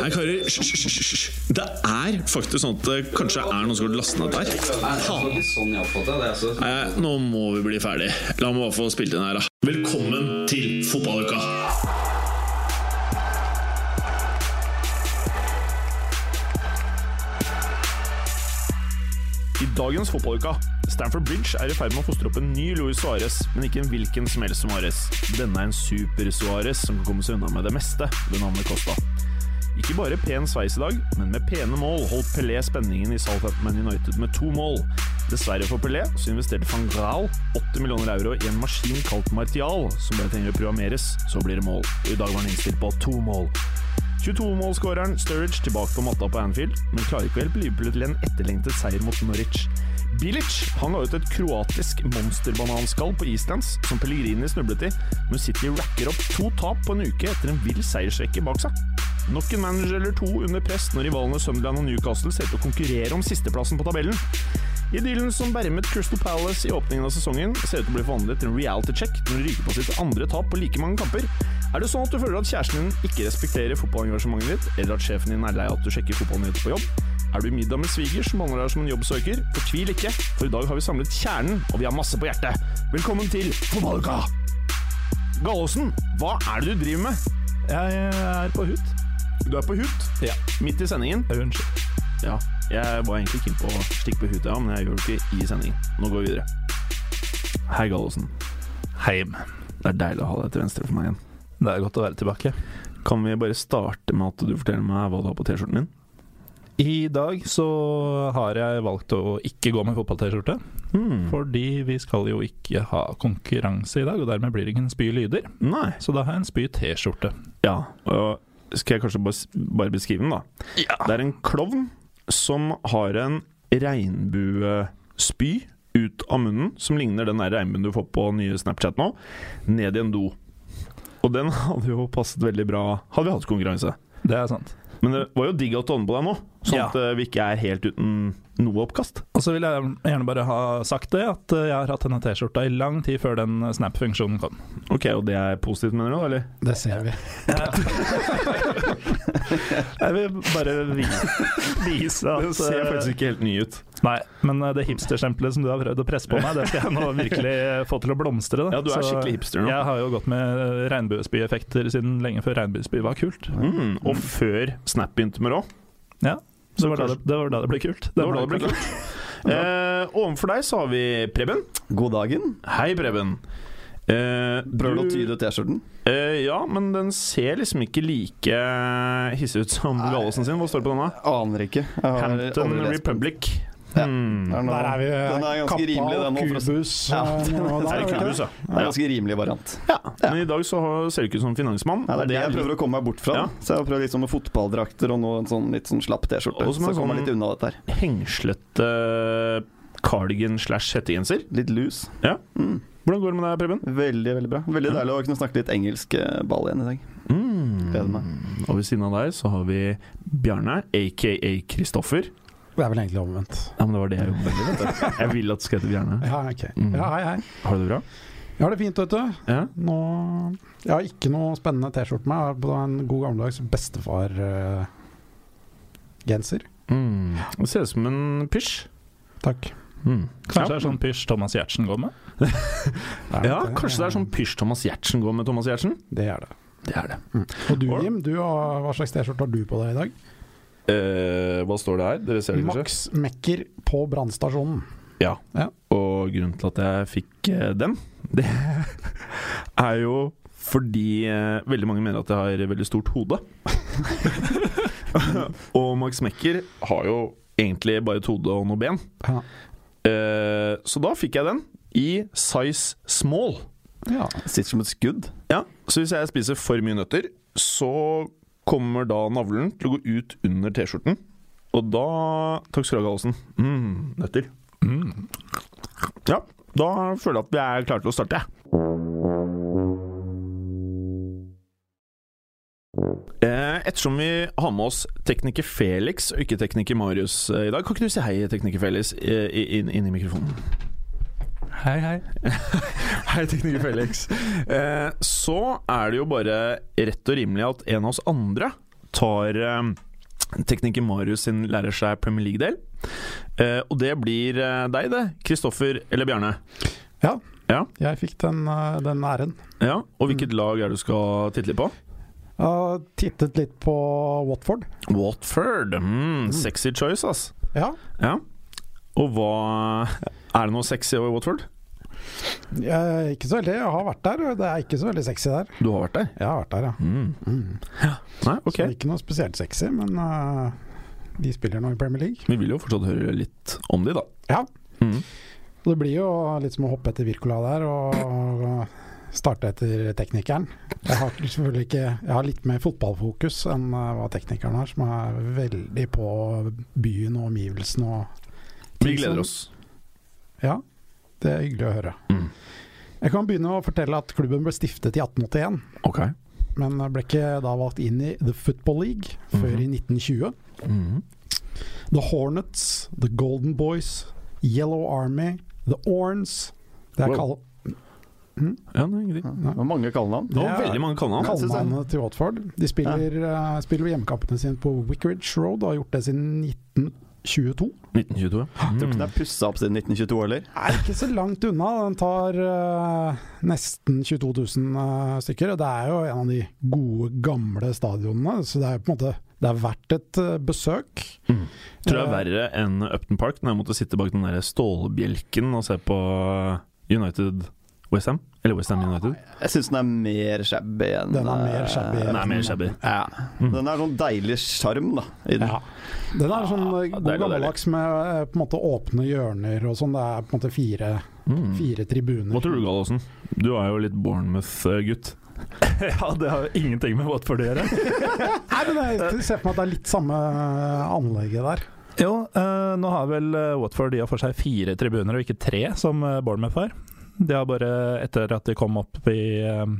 Nei, karer, hysj, hysj, hysj, hysj. Det er faktisk sånn at det kanskje er noen som har lastet ned der. Faen. Sånn jeg oppfatter det. Altså. Nei, nå må vi bli ferdig. La meg bare få spilt inn her, da. Velkommen til fotballuka! I dagens fotballuka Stamford Bridge er i ferd med å fostre opp en ny Luis Suárez, men ikke en hvilken som helst Suárez. Denne er en super-Suárez som kan komme seg unna med det meste ved navnet Costa. Ikke bare pen sveis i dag, men med pene mål holdt Pelé spenningen i Southampton United med to mål. Dessverre for Pelé så investerte van Graal 80 millioner euro i en maskin kalt Martial, som ble tenkt å programmeres. Så blir det mål. Og I dag var han innstilt på to mål. 22-målskåreren Sturridge tilbake på matta på Anfield, men klarer ikke å hjelpe Liverpool til en etterlengtet seier mot Norwich. Bilic han la ut et kroatisk monsterbananskall på Islands, som Pellegrini snublet i, men City racker opp to tap på en uke etter en vill seiersrekke bak seg. Nok en manager eller to under press når rivalene Sunderland og Newcastle ser ut til å konkurrere om sisteplassen på tabellen. Idyllen som bermet Crystal Palace i åpningen av sesongen, ser ut til å bli forvandlet til en reality check når de ryker på sitt andre tap på like mange kamper. Er det sånn at du føler at kjæresten din ikke respekterer fotballengasjementet ditt, eller at sjefen din er lei av at du sjekker fotballnyheter på jobb? Er du i middag med sviger som handler deg som en jobbsøker? Fortvil ikke, for i dag har vi samlet kjernen, og vi har masse på hjertet. Velkommen til Fotballuka! Gallosen, hva er det du driver med? Jeg er på hut. Du er på hut? Ja. Midt i sendingen? Unnskyld. Ja. Jeg var egentlig keen på å stikke på huta, men jeg gjør det ikke i sending. Nå går vi videre. Hei, Gallosen. Heim. Det er deilig å ha deg til venstre for meg igjen. Det er godt å være tilbake. Kan vi bare starte med at du forteller meg hva du har på T-skjorten din? I dag så har jeg valgt å ikke gå med fotball-T-skjorte. Fordi vi skal jo ikke ha konkurranse i dag, og dermed blir det ingen spy lyder. Nei. Så da har jeg en spy T-skjorte. Ja, og skal jeg kanskje bare, bare beskrive den, da? Det er en klovn som har en regnbuespy ut av munnen, som ligner den der regnbuen du får på nye Snapchat nå, ned i en do. Og den hadde jo passet veldig bra Hadde vi hatt konkurranse. Det er sant. Men det var jo digg at du åndet på deg nå, sånn Ja. at eh, vi ikke er helt uten noe oppkast. Og så vil jeg gjerne bare ha sagt det, at eh, jeg har hatt denne T-skjorta i lang tid før den Snap-funksjonen kom. Ok, Og det er positivt, mener du? eller? Det ser vi. Jeg vil bare vise, vise at Den ser eh, faktisk ikke helt ny ut. Nei, men eh, det hipsterstempelet som du har prøvd å presse på meg, det skal jeg nå virkelig eh, få til å blomstre. Da. Ja, du er Så skikkelig hipster nå. Jeg har jo gått med eh, regnbuespyeffekter siden lenge før regnbuespy var kult. Mm, og før Snap begynte med det òg. Ja, så Så var det, kanskje- det var da det ble kult. Det var da det ble kult. Eh, ovenfor deg så har vi Preben. God dagen. Hei, Preben. Eh, Prøver du å du- tyde T-skjorten? Eh, ja, men den ser liksom ikke like eh, hissig ut som Gallosen sin. Hva står det på denne? Aner ikke. Jeg har Hampton aldri lest på den. Republic. Ja. Hmm. noe- Der er vi. eh, Den er ganske Kappa rimelig, og den nå, for å si- Kubus. Ja, og den- noe Det der, er ikke det? kubus, ja. Det er en ganske rimelig variant. Men i dag så har- ser du ikke ut som finansmann. Nei, det er det jeg og prøver å komme meg bort fra. Ja. Så jeg har prøvd liksom med fotballdrakter og nå en sånn litt sånn slapp T-skjorte. Og som Så en jeg kommer sånn- litt unna dette her. Hengslete eh, cardigan slash hettegenser. Litt loose. Ja. Mm. Hvordan går det med deg, Preben? Veldig, veldig bra. Veldig deilig å kunne snakke litt engelsk eh, ball igjen i dag. Mm. Gleder meg. Og ved siden av deg så har vi Bjarne, aka Kristoffer. Det er vel egentlig omvendt. Ja, men det var det jeg jobbet med. vet du. Jeg vil at du skal hete Bjarne. Ja, ok. Mm. Ja, hei, hei. Har du det bra? Jeg har det fint, vet du. Ja. Nå, jeg har ikke noe spennende T-skjorte med. Jeg har på en god gammeldags eh, bestefar-genser. Mm. Det ser ut som en pysj. Takk. Mm. Kanskje det er sånn pysj Thomas Giertsen går med? Det er Ja, nok kanskje det er sånn pysj Thomas Giertsen går med Thomas Giertsen? Det er det. Det er det. Og du, Jim, du har, hva slags T-skjorte har du på deg i dag? Eh, hva står det her? Dere ser det kanskje? Max Mekker på brannstasjonen. Ja. Ja. Og grunnen til at jeg fikk eh, den, det er jo fordi eh, veldig mange mener at jeg har veldig stort hode. og Max Mekker har jo egentlig bare et hode og noen ben. Ja. Eh, så da fikk jeg den i size small. ja. Sitter som et skudd. Ja, så hvis jeg spiser for mye nøtter, så kommer da navlen til å gå ut under T-skjorten. Mm, Og da Takk skal du ha, Gallosen. Mm, nøtter. Ja, Da føler jeg at vi er klare til å starte. jeg. Eh, Ettersom vi har med oss tekniker Felix og ikke tekniker Marius eh, i dag, kan ikke du si hei, tekniker Felix, eh, i- inn, inn i mikrofonen? Hei, hei. Hei, tekniker Felix. Eh, så er det jo bare rett og rimelig at en av oss andre tar eh, tekniker Marius sin lærer seg Premier League-del. Eh, og det blir eh, deg, det. Kristoffer eller Bjarne. Ja, Ja. jeg fikk den, eh, den æren. Ja, Og hvilket lag er det du skal titte litt på? Jeg har tittet litt på Watford. Watford. Mm, sexy choice, ass. Ja, Ja. Og hva Er det noe sexy over Watford? jeg, ikke så veldig. Jeg har vært der, og det er ikke så veldig sexy der. Du har vært der? Jeg har vært der, ja. Mm. Mm. Nei, Så det ok. er ikke noe spesielt sexy, men eh, de spiller nå i Premier League. Vi vil jo fortsatt høre litt om de, da. Ja. Mm. Og det blir jo litt som å hoppe etter Wirkola der og starte etter teknikeren. Jeg har selvfølgelig ikke Jeg har litt mer fotballfokus enn eh, hva teknikeren har, som er veldig på byen og omgivelsene og Vi gleder oss. Ja, det er hyggelig å høre. Mm. Jeg kan begynne å fortelle at klubben ble stiftet i 1881, Ok. men ble ikke da valgt inn i The Football League før i 1920. Mm. The Hornets, The Golden Boys, Yellow Army, The Orns Det er Wow. kall Ja, det er ingenting. Det var mange kallenavn. Det var Ja. veldig mange kallenavn. Ja. synes jeg. kallenavnet til Watford. De spiller, eh, spiller jo hjemmekampene sine på Wickridge Road og har gjort det siden 1922. 1922. Tror ikke Mm. den er pussa opp siden 1922 heller. Er ikke så langt unna. Den tar eh, nesten 22 000 eh, stykker. Og det er jo en av de gode, gamle stadionene, så det er på en måte det er verdt et eh, besøk. Mm. Tror det er Eh, verre enn Upton Park, når jeg måtte sitte bak den der stålbjelken og se på United Westham. Eller Westham United. Jeg syns den er mer shabby enn Den er mer eh, shabby. Den er mer shabby. Ja. Mm. Den er sånn deilig sjarm, da. I den. Ja. Den er sånn eh, god deilig, gammeldags med eh, på en måte åpne hjørner og sånn. Det er på en måte fire, Mm. fire tribuner. Hva tror du, Gallosen? Du er jo litt Bournemouth-gutt. Ja, det har ingenting med Watford å gjøre. Nei, men jeg ser for meg at det er litt samme eh, anlegget der. Jo, eh, nå har vel eh, Watford de har for seg fire tribuner, og ikke tre, som eh, Bournemouth har. De har bare, etter at de kom opp i eh,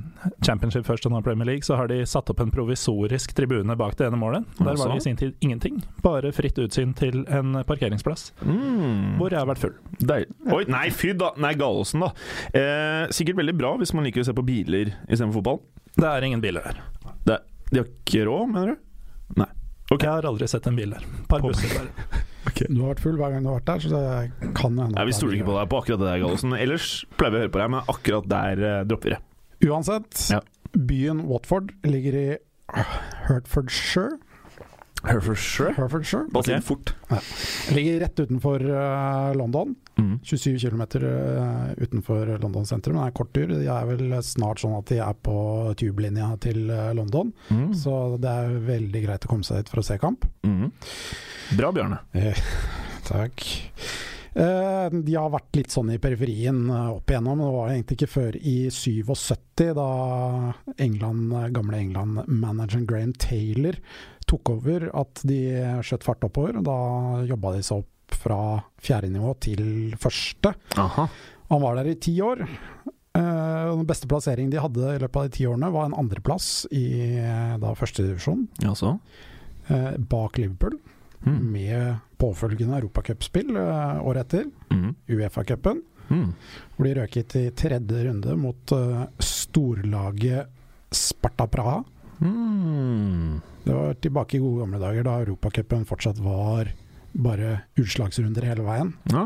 Championship først og nå Premier League, så har de satt opp en provisorisk tribune bak det ene målet. Der var det i sin tid ingenting, bare fritt utsyn til en eh, parkeringsplass, Mm. hvor jeg har vært full. Deil. Oi, nei, fy da! Nei, Gallosen, da. Eh, sikkert veldig bra hvis man liker å se på biler istedenfor fotball. Det er ingen biler der. Det, de har ikke råd, mener du? Jeg har aldri sett en bil der. Par busser der. Du har vært full hver gang du har vært der, så det kan hende Nei, at Vi det er stoler ikke på deg på akkurat det der, Gallosen. Ellers pleier vi å høre på deg, men akkurat der eh, dropper vi det. Uansett, Ja. byen Watford ligger i øh, Hertfordshire. Herefordshire? Hertfordshire. Bare si Ok. det fort. Ligger rett utenfor eh, London. Mm. 27 km utenfor London sentrum. Det er en kort tur. De er vel snart sånn at de er på tubelinja til eh, London. Mm. Så det er veldig greit å komme seg dit for å se kamp. Mm. Bra, Bjarne. Eh, Takk. Eh, de har vært litt sånn i periferien eh, opp igjennom. Det var egentlig ikke før i 77, da England, eh, gamle England-manageren Graham Taylor tok over, at de skjøt fart oppover. og Da jobba de seg opp fra fjerde nivå til første. Aha. Han var der i ti år. Eh, og den beste plasseringen de hadde i løpet av de ti årene, var en andreplass i eh, da førstedivisjon, Ja, så. eh, bak Liverpool, Mm. med påfølgende europacupspill eh, året etter. Mm. Uefa-cupen. Mm. Hvor de røk ut i tredje runde mot eh, storlaget Sparta Praha. Mm. Det var tilbake i gode gamle dager, da Europacupen fortsatt var bare utslagsrunder hele veien. Ja.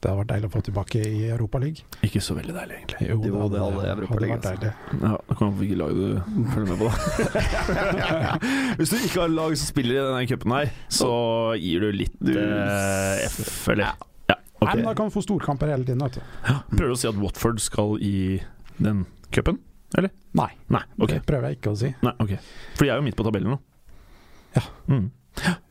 Det hadde vært deilig å få tilbake i Europaligaen. Ikke så veldig deilig, egentlig. Jo, det hadde Europa League, vært deilig. Ja, det kommer an på hvilket lag du følger med på, da. Hvis du ikke har lag som spiller i denne cupen her, så gir du litt Du- eh, F, eller? Ja. Nei, men ok. da kan du få storkamper hele tiden, vet du. Prøver du å si at Watford skal i den cupen? Nei, Nei, ok. det prøver jeg ikke å si. Nei, ok. For de er jo midt på tabellen nå. Ja. Mm.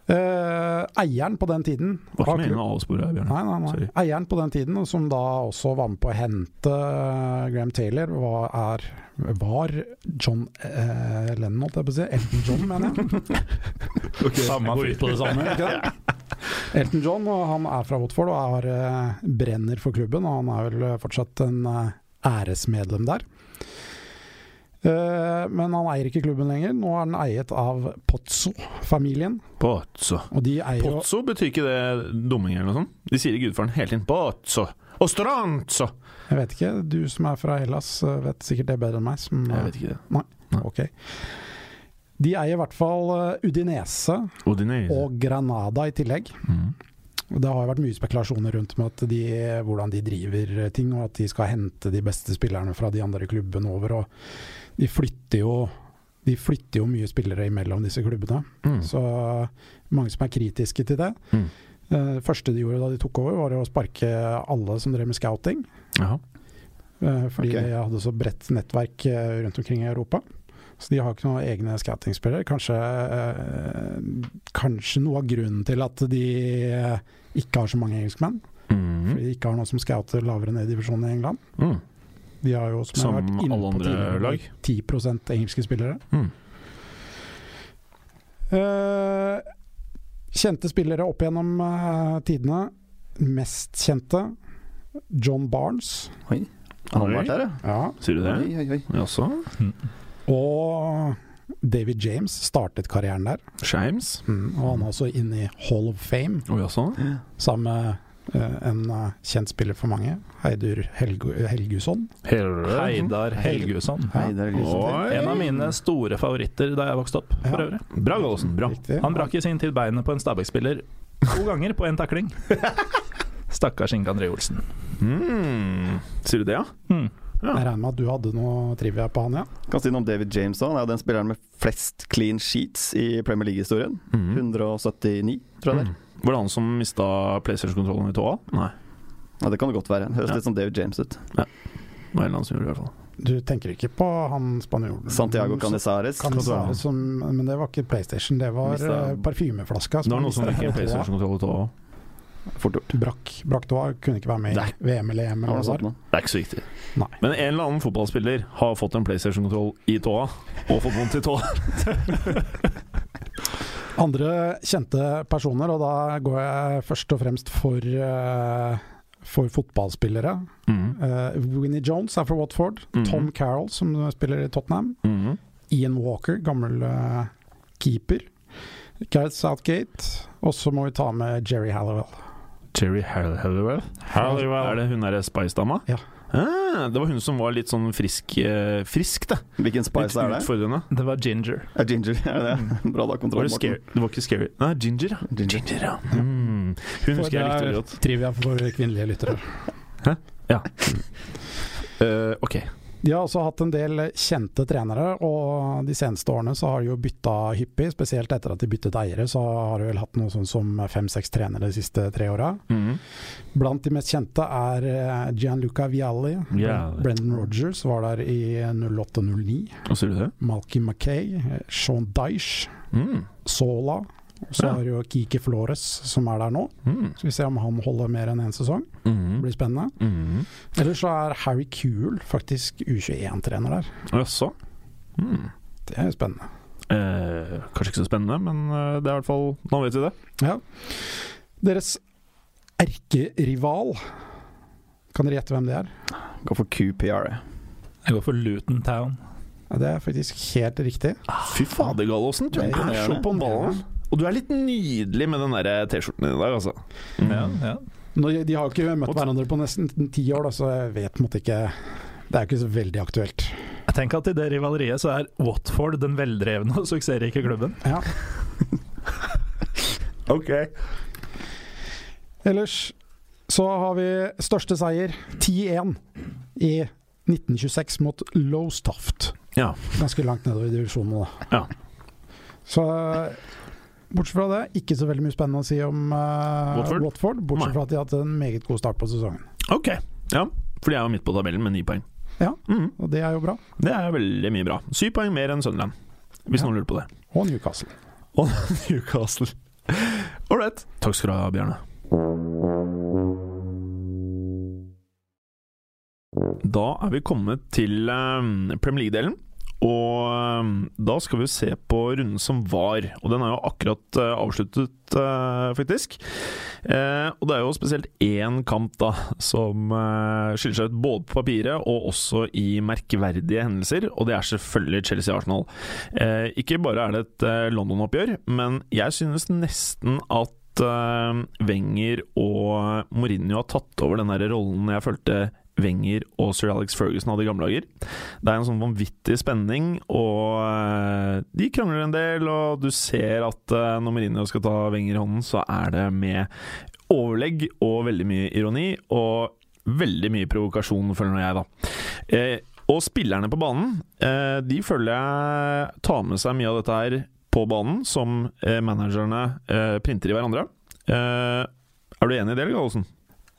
Eh, eieren på den tiden Var av ikke meningen å avspore deg, Bjørn. Nei, nei, nei. Sorry. Eieren på den tiden, som da også var med på å hente eh, Graham Taylor, var, er, var John eh, Lennon, holdt jeg på å si. Elton John, mener jeg. Samme jeg går fyr. ut på det Samme, ikke det? Elton John og han er fra Watford og er, eh, brenner for klubben. Og han er vel eh, fortsatt en eh, æresmedlem der. Eh, Men han eier ikke klubben lenger. Nå er den eiet av Pozzo-familien. Pozzo. Og de eier jo Pozzo betyr ikke det dumming eller noe sånt? De sier i gudfaren hele tiden Pozzo. Og Stranzo! Jeg vet ikke, du som er fra Hellas eh, vet sikkert det bedre enn meg. Som, eh, Jeg vet ikke det. Ok. De eier i hvert fall eh, Udinese Odinese. og Granada i tillegg. Mm. Og Det har jo vært mye spekulasjoner rundt med at de, hvordan de driver eh, ting, og at de skal hente de beste spillerne fra de andre klubbene over. Og de flytter jo, de flytter jo mye spillere imellom disse klubbene. Mm. Så eh, mange som er kritiske til det. Mm. Eh, første de gjorde da de tok over, var jo å sparke alle som drev med scouting. Jaha. Eh, Fordi Ok. de hadde så bredt nettverk eh, rundt omkring i Europa. Så de har ikke noen egne scouting-spillere. Kanskje, eh, kanskje noe av grunnen til at de eh, ikke har så mange engelskmenn. Mm. Fordi de ikke har noen som scouter lavere ned i divisjonen i England. Mm. De har jo, som, Som jeg har vært inne alle på andre tidligere, lag. 10 engelske spillere. Mm. Eh, kjente spillere opp gjennom eh, tidene. Mest kjente John Barnes. Han har vært der, ja. Ja. Sier du det? Oi, oi, oi. Jaså? Og David James startet karrieren der. Shames? Mm, og han er også inne i Hall of Fame Å jaså? sammen med eh, en eh, kjent spiller for mange, Heidur Helgu Helgusson. Heidar Helgusson. Hei, det er litt sånn Oi. En av mine store favoritter da jeg vokste opp, for Ja. øvrig. Bra, Gallosen. Bra. Riktig. Han brakk i sin tid beinet på en Stabæk-spiller to ganger på én takling. Stakkars Inge André Olsen. Mm. Sier du det, ja? Mm. Jeg regner med at du hadde noe trivia på han, ja? Kan si noe om David James da. Han er jo den spilleren med flest clean sheets i Premier League-historien. Mm. 179, tror jeg det er. Hmm. Var det han som mista PlayStation-kontrollen i tåa? Nei. Ja, det kan det godt være. Høres Mm. Ja. litt som David James ut. Det var en eller annen som gjorde det, i hvert fall. Du tenker ikke på han spanjolen? Santiago Mm. Canizares. Kan det være som, men det var ikke PlayStation, det var Mista- eh, parfymeflaska. Det var noen som fikk en mistet tåa. PlayStation-kontroll i tåa. Fort gjort. Brakk, brakk tåa, kunne ikke være med Nei. i VM eller EM. Det Eller var noe hva det sånt var. nå. Det er ikke så viktig. Nei. Men en eller annen fotballspiller har fått en PlayStation-kontroll i tåa, og fått vondt i tåa. Andre kjente personer, og da går jeg først og fremst for, eh, for fotballspillere. Mm. Eh, Winnie Jones er fra Watford. Mhm. Tom Carroll, som spiller i Tottenham. Mm. Ian Walker, gammel eh, keeper. Gareth Southgate. Og så må vi ta med Jerry Halliwell. Cherry Hall- Halliwell. Er det hun derre Spice-dama? Ja. Ah, det var hun som var litt sånn frisk, eh, frisk det. Hvilken Litt spice er det? utfordrende. Det var Ginger. Er ginger, er det det? Bra da, Var kontroll, det, scary? Morten. det var ikke scary. Nei, Ginger, ja. Ginger. ja. Mm. Hun For husker jeg likte veldig godt. Trivia for våre kvinnelige lyttere. Eh, ok. De har også hatt en del kjente trenere, og de seneste årene så har de jo bytta hyppig. Spesielt etter at de byttet eiere, så har de vel hatt noe sånn som fem-seks trenere de siste tre åra. Mm. Blant de mest kjente er eh, Gianluca Vialli. Vialli. Brendan Rogers var der i 08-09. Hva sier du det? Malky Mackay, eh, Sean Dyche, Mm. Sola. Og så Ja. har du jo Kiki Flores som er der nå. Mm. Skal vi se om han holder mer enn én sesong. Det Mm. blir spennende. Mm. Eller så er Harry Kuhl faktisk U21-trener der. Jaså. Mm. Det er spennende. Eh, kanskje ikke så spennende, men eh, det er i hvert fall Nå vet vi det. Deres erkerival Kan dere gjette hvem det er? Gå for QPR. jeg. Jeg går for Luton Town. Ja, Det er faktisk helt riktig. Fy fader, Gallosen. Du er Det er så imponerende. på ballen. Og du er litt nydelig med den der eh, T-skjorten din i dag, altså. Ja, ja. Nå, de har jo ikke møtt Og- hverandre på nesten ti år, da, så jeg vet på en måte ikke Det er jo ikke så veldig aktuelt. Jeg tenker at i det rivaleriet så er Watford den veldrevne og suksessrike klubben. Ja. Ok. Ellers så har vi største seier, 10-1, i 1926 mot Lowstoft. Ja. Ganske langt nedover i divisjonen, da. Ja. Så bortsett fra det, ikke så veldig mye spennende å si om eh, Watford? Watford. Bortsett Nei. fra at de har hatt en meget god start på sesongen. Ok. Ja, for de er jo midt på tabellen med ni poeng. Ja. Mhm. Og det er jo bra. Det er veldig mye bra. Syv poeng mer enn Sunderland, hvis Ja. noen lurer på det. Og Newcastle. Newcastle. Ålreit. Takk skal du ha, Bjarne. Da er vi kommet til eh, ehm, Premier League-delen. Og um, da skal vi jo se på runden som var, og den er jo akkurat eh, avsluttet, eh, faktisk. Eh, og det er jo spesielt én kamp da som eh, skiller seg ut både på papiret og også i merkverdige hendelser, og det er selvfølgelig Chelsea-Arsenal. Eh, ikke bare er det et eh, London-oppgjør, men jeg synes nesten at eh, Wenger og Mourinho har tatt over den der rollen jeg følte Wenger og sir Alex Ferguson hadde i gamle dager. Det er en sånn vanvittig spenning, og eh, de krangler en del, og du ser at eh, når Mourinho skal ta Wenger i hånden, så er det med overlegg og veldig mye ironi, og veldig mye provokasjon, føler nå jeg, da. Eh, og spillerne på banen, eh, de føler jeg tar med seg mye av dette her på banen, som eh, managerne eh, printer i hverandre. Eh, er du enig i det, eller, Gallosen?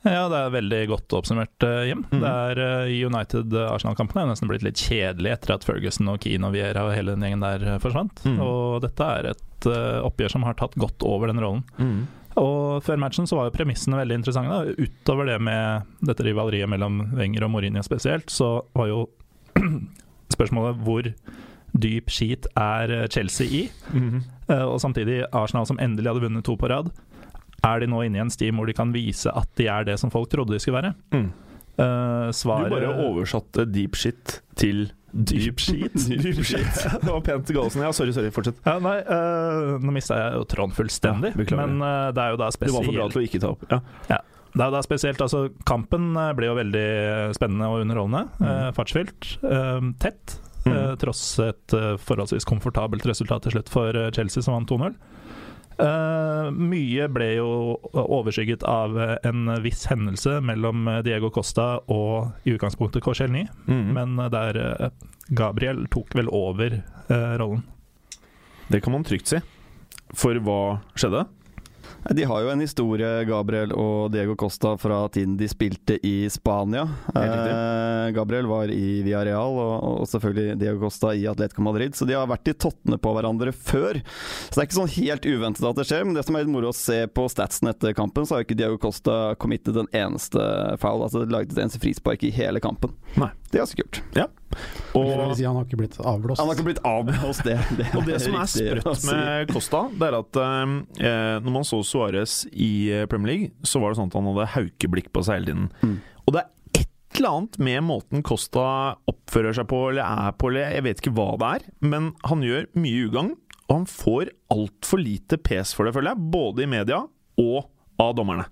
Ja, det er veldig godt oppsummert, eh, Jim. Mhm. Det er eh, i United-Arsenal-kampene er nesten blitt litt kjedelig etter at Ferguson og Keane og Vieira og hele den gjengen der eh, forsvant. Mhm. Og dette er et eh, oppgjør som har tatt godt over den rollen. Og før matchen så var jo premissene veldig interessante. Da. Utover det med dette rivaleriet mellom Wenger og Mourinho spesielt, så var jo spørsmålet hvor dyp skit er eh, Chelsea i? Eh, Og samtidig Arsenal som endelig hadde vunnet to på rad. Er de nå inne i en stim hvor de kan vise at de er det som folk trodde de skulle være? Mm. Eh, Du svaret bare oversatte deep shit til Dyp skit? Dyp shit. Det var pent til Gallosen. Ja, sorry, sorry. Fortsett. ja, Nei, eh, nå mista jeg jo Trond fullstendig. Ja, beklager. men eh, det er jo da Du var for bra spesielt til å ikke ta opp. Ja. Det er jo da spesielt, altså Kampen eh, ble jo veldig spennende og underholdende. eh, fartsfylt. eh, tett. Mm. eh, tross et eh, forholdsvis komfortabelt resultat til slutt for eh, Chelsea, som vant 2-0. Eh, mye ble jo overskygget av eh, en viss hendelse mellom eh, Diego Costa og i utgangspunktet Korselny, Mhm. men eh, der eh, Gabriel tok vel over eh, rollen. Det kan man trygt si. For hva skjedde? Nei, De har jo en historie, Gabriel og Diego Costa, fra tiden de spilte i Spania. Helt riktig. Eh, Gabriel var i Villarreal, og, og selvfølgelig Diego Costa i Atletico Madrid. Så de har vært i tottene på hverandre før. Så det er ikke sånn helt uventet at det skjer. Men det som er litt moro å se på statsen etter kampen, så har jo ikke Diego Costa committed en eneste foul. Altså laget et eneste frispark i hele kampen. Nei. Det er så kult. Det vil Og, si han har ikke blitt avblåst. Han har ikke blitt avblåst, det. det og det som er riktig altså. å sprøtt si. med Costa, det er at eh, når man så Suárez i eh, Premier League, så var det sånn at han hadde haukeblikk på seg hele tiden. Mm. Og det er et eller annet med måten Costa oppfører seg på eller er på, eller jeg vet ikke hva det er, men han gjør mye ugagn, og han får altfor lite pes for det, føler jeg, både i media og av dommerne.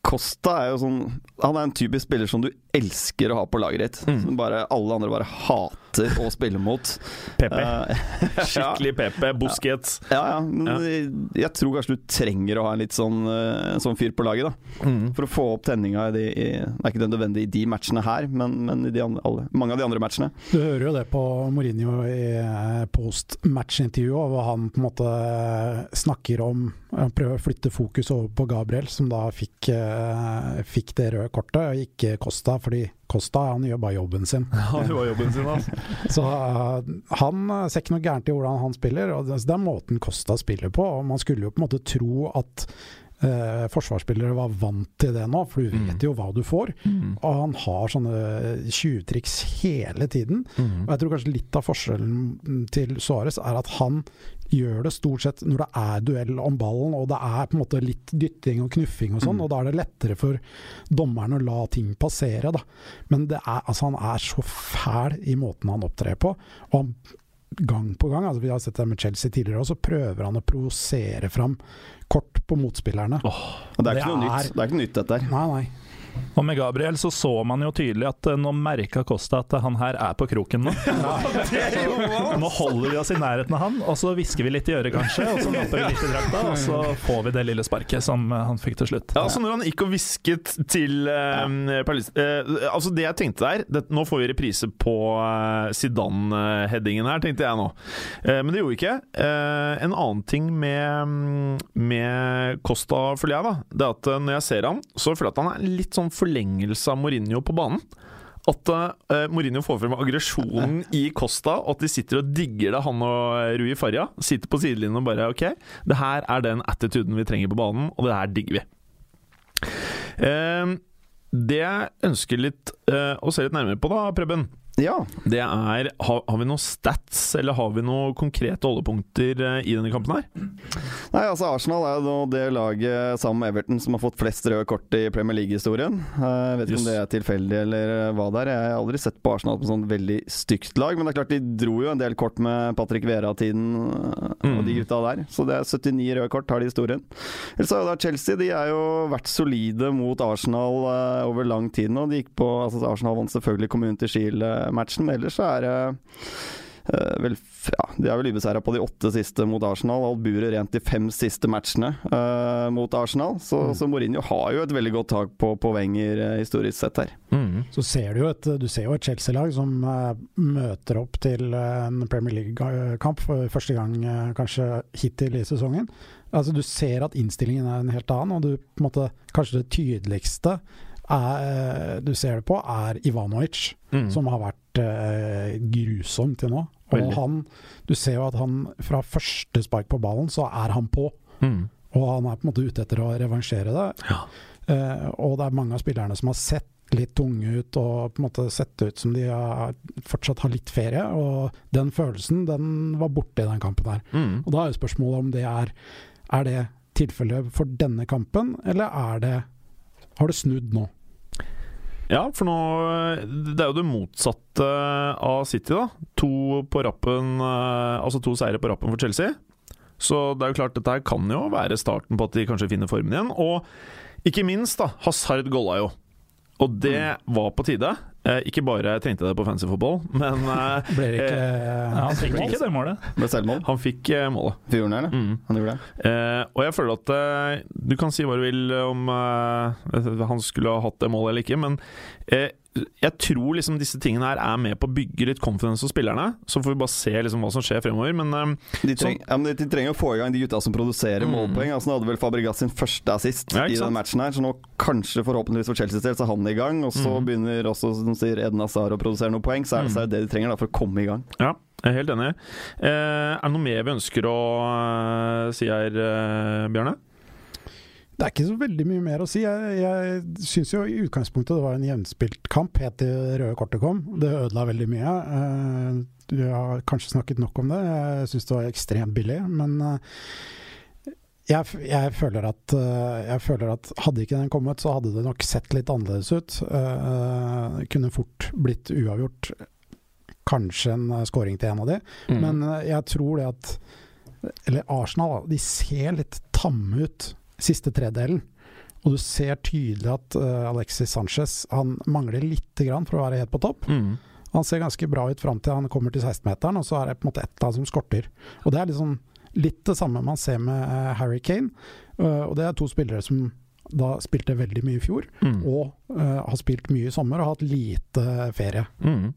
Costa er jo sånn Han er en typisk spiller som du elsker å ha på laget ditt. Mm. Som bare alle andre bare hater å spille mot. Pepe. Eh, Skikkelig Pepe. Busquets. ja, ja, men Ja. jeg tror kanskje du trenger å ha en litt sånn, eh, en sånn fyr på laget, da. Mm. For å få opp tenninga i de i, Det er ikke nødvendig i de matchene her, men, men i de andre, alle, mange av de andre matchene. Du hører jo det på Mourinho i eh, post-match-intervjuet, hvor han på en måte eh, snakker om Han prøver å flytte fokus over på Gabriel, som da fikk, eh, fikk det røde kortet, og ikke Costa, fordi Costa han gjør bare jobben sin. Ja, det var jobben sin, altså. Så eh, han eh, ser ikke noe gærent i hvordan han spiller, og det altså, det er måten Costa spiller på. og Man skulle jo på en måte tro at eh, forsvarsspillere var vant til det nå, for du Mm. vet jo hva du får. Og han har sånne tjuvtriks hele tiden. Mm. Og jeg tror kanskje litt av forskjellen til Suárez er at han gjør det stort sett når det er duell om ballen, og det er på en måte litt dytting og knuffing og sånn, og da er det lettere for dommeren å la ting passere, da. Men det er, altså, han er så fæl i måten han opptrer på. og han Gang på gang, altså vi har sett det med Chelsea tidligere også, prøver han å provosere fram kort på motspillerne. Og det er Det ikke er- noe nytt, det er ikke noe nytt dette her. Nei, nei. Og med Gabriel så så man jo tydelig at eh, nå merka Costa at eh, han her er på kroken nå. Nå holder vi oss i nærheten av han, og så hvisker vi litt i øret kanskje, og så napper vi litt i drakta, og så får vi det lille sparket som eh, han fikk til slutt. Ja, altså når han gikk og hvisket til eh, Palis- eh, Altså det jeg tenkte der det, Nå får vi reprise på eh, Zidane-headingen her, tenkte jeg nå. Eh, men det gjorde vi ikke. Eh, en annen ting med, mm, med Costa, føler jeg, da, det er at eh, når jeg ser han, så føler jeg at han er litt sånn forlengelse av Mourinho på banen. At eh, Mourinho får frem aggresjonen i Costa, og at de sitter og digger det, han og eh, Rui Farja. Sitter på sidelinjen og bare OK, det her er den attituden vi trenger på banen, og det her digger vi. Ehm, Eh, det jeg ønsker litt eh, å se litt nærmere på, da, Preben, Ja. Det er, har, har vi noen stats, eller har vi noen konkrete holdepunkter eh, i denne kampen her? Nei, altså Arsenal er jo nå det laget sammen med Everton som har fått flest røde kort i Premier League-historien. Eh, Jeg vet ikke Yes. om det er tilfeldig eller eh, hva det er. Jeg har aldri sett på Arsenal på sånn veldig stygt lag, men det er klart de dro jo en del kort med Patrick Vera-tiden eh, og de Mm. gutta der. Så det er 79 røde kort har de i historien. Ellers har jo da Chelsea de er jo vært solide mot Arsenal eh, over lang tid nå. De gikk på, altså Arsenal vant selvfølgelig kommunen til Shield-matchen, men ellers så er det Eh, vel, f- ja, de er vel ubeseira på de åtte siste mot Arsenal. Alburet rent de fem siste matchene eh, mot Arsenal. Så, så Mourinho har jo et veldig godt tak på, på Wenger eh, historisk sett her. Mm. Så ser du jo et, du ser jo et Chelsea-lag som eh, møter opp til eh, en Premier League-kamp for første gang eh, kanskje hittil i sesongen. Altså Du ser at innstillingen er en helt annen, og du, på en måte, kanskje det tydeligste er, eh, du ser det på, er Ivanovic, Mm. som har vært eh, grusom til nå. Og Veldig. han, du ser jo at han fra første spark på ballen, så er han på. Mm. Og han er på en måte ute etter å revansjere det. Ja. Eh, og det er mange av spillerne som har sett litt tunge ut og på en måte sett ut som de har, fortsatt har litt ferie. Og den følelsen den var borte i den kampen her. Mm. Og da er jo spørsmålet om det er Er det tilfellet for denne kampen, eller er det har det snudd nå? Ja, for nå Det er jo det motsatte av City, da. To på rappen eh, Altså to seire på rappen for Chelsea. Så det er jo klart, dette her kan jo være starten på at de kanskje finner formen igjen. Og ikke minst, da. Hazard golla jo. Og det var på tide. Eh, ikke bare trengte jeg det på fancy football, men eh, Blir det ikke Ja, han fikk ikke det målet. Med selvmål. han fikk eh, målet. Fjorden her, Mm. han gjorde det. Eh, og jeg føler at eh, du kan si hva du vil om eh, han skulle ha hatt det målet eller ikke, men eh, jeg tror liksom disse tingene her er med på å bygge litt confidence hos spillerne. Så får vi bare se liksom hva som skjer fremover. Men eh, De, treng, ja, men de trenger å få i gang de gutta som produserer Mm. målpoeng. Altså, nå hadde vel Fabregas sin første assist Ja, ikke i sant? den matchen her, så nå kanskje, forhåpentligvis for Chelseas del, så er han i gang. Og så Mm. begynner også, som sier Edna Sar, å produsere noen poeng. Så er det, så er det det de trenger da, for å komme i gang. ja, jeg er helt enig. Eh, er det noe mer vi ønsker å eh, si her, eh, Bjørne? Det er ikke så veldig mye mer å si. Jeg, jeg syns jo i utgangspunktet det var en jevnspilt kamp helt til det røde kortet kom. Det ødela veldig mye. Eh, Vi har kanskje snakket nok om det. Jeg syns det var ekstremt billig, men eh, jeg, f- jeg, føler at, eh, jeg føler at hadde ikke den kommet, så hadde det nok sett litt annerledes ut. Eh, Det kunne fort blitt uavgjort. Kanskje en eh, scoring til en av de. Mm. Men eh, jeg tror det at Eller Arsenal, da, de ser litt tamme ut siste tredelen. Og du ser tydelig at eh, Alexis Sanchez han mangler lite grann for å være helt på topp. Mm. Han ser ganske bra ut fram til han kommer til 16-meteren, og så er det på en måte ett av dem som skorter. Og Det er liksom litt det samme man ser med eh, Harry Kane. Eh, og Det er to spillere som da spilte veldig mye i fjor, Mm. og eh, har spilt mye i sommer og hatt lite ferie. Mm.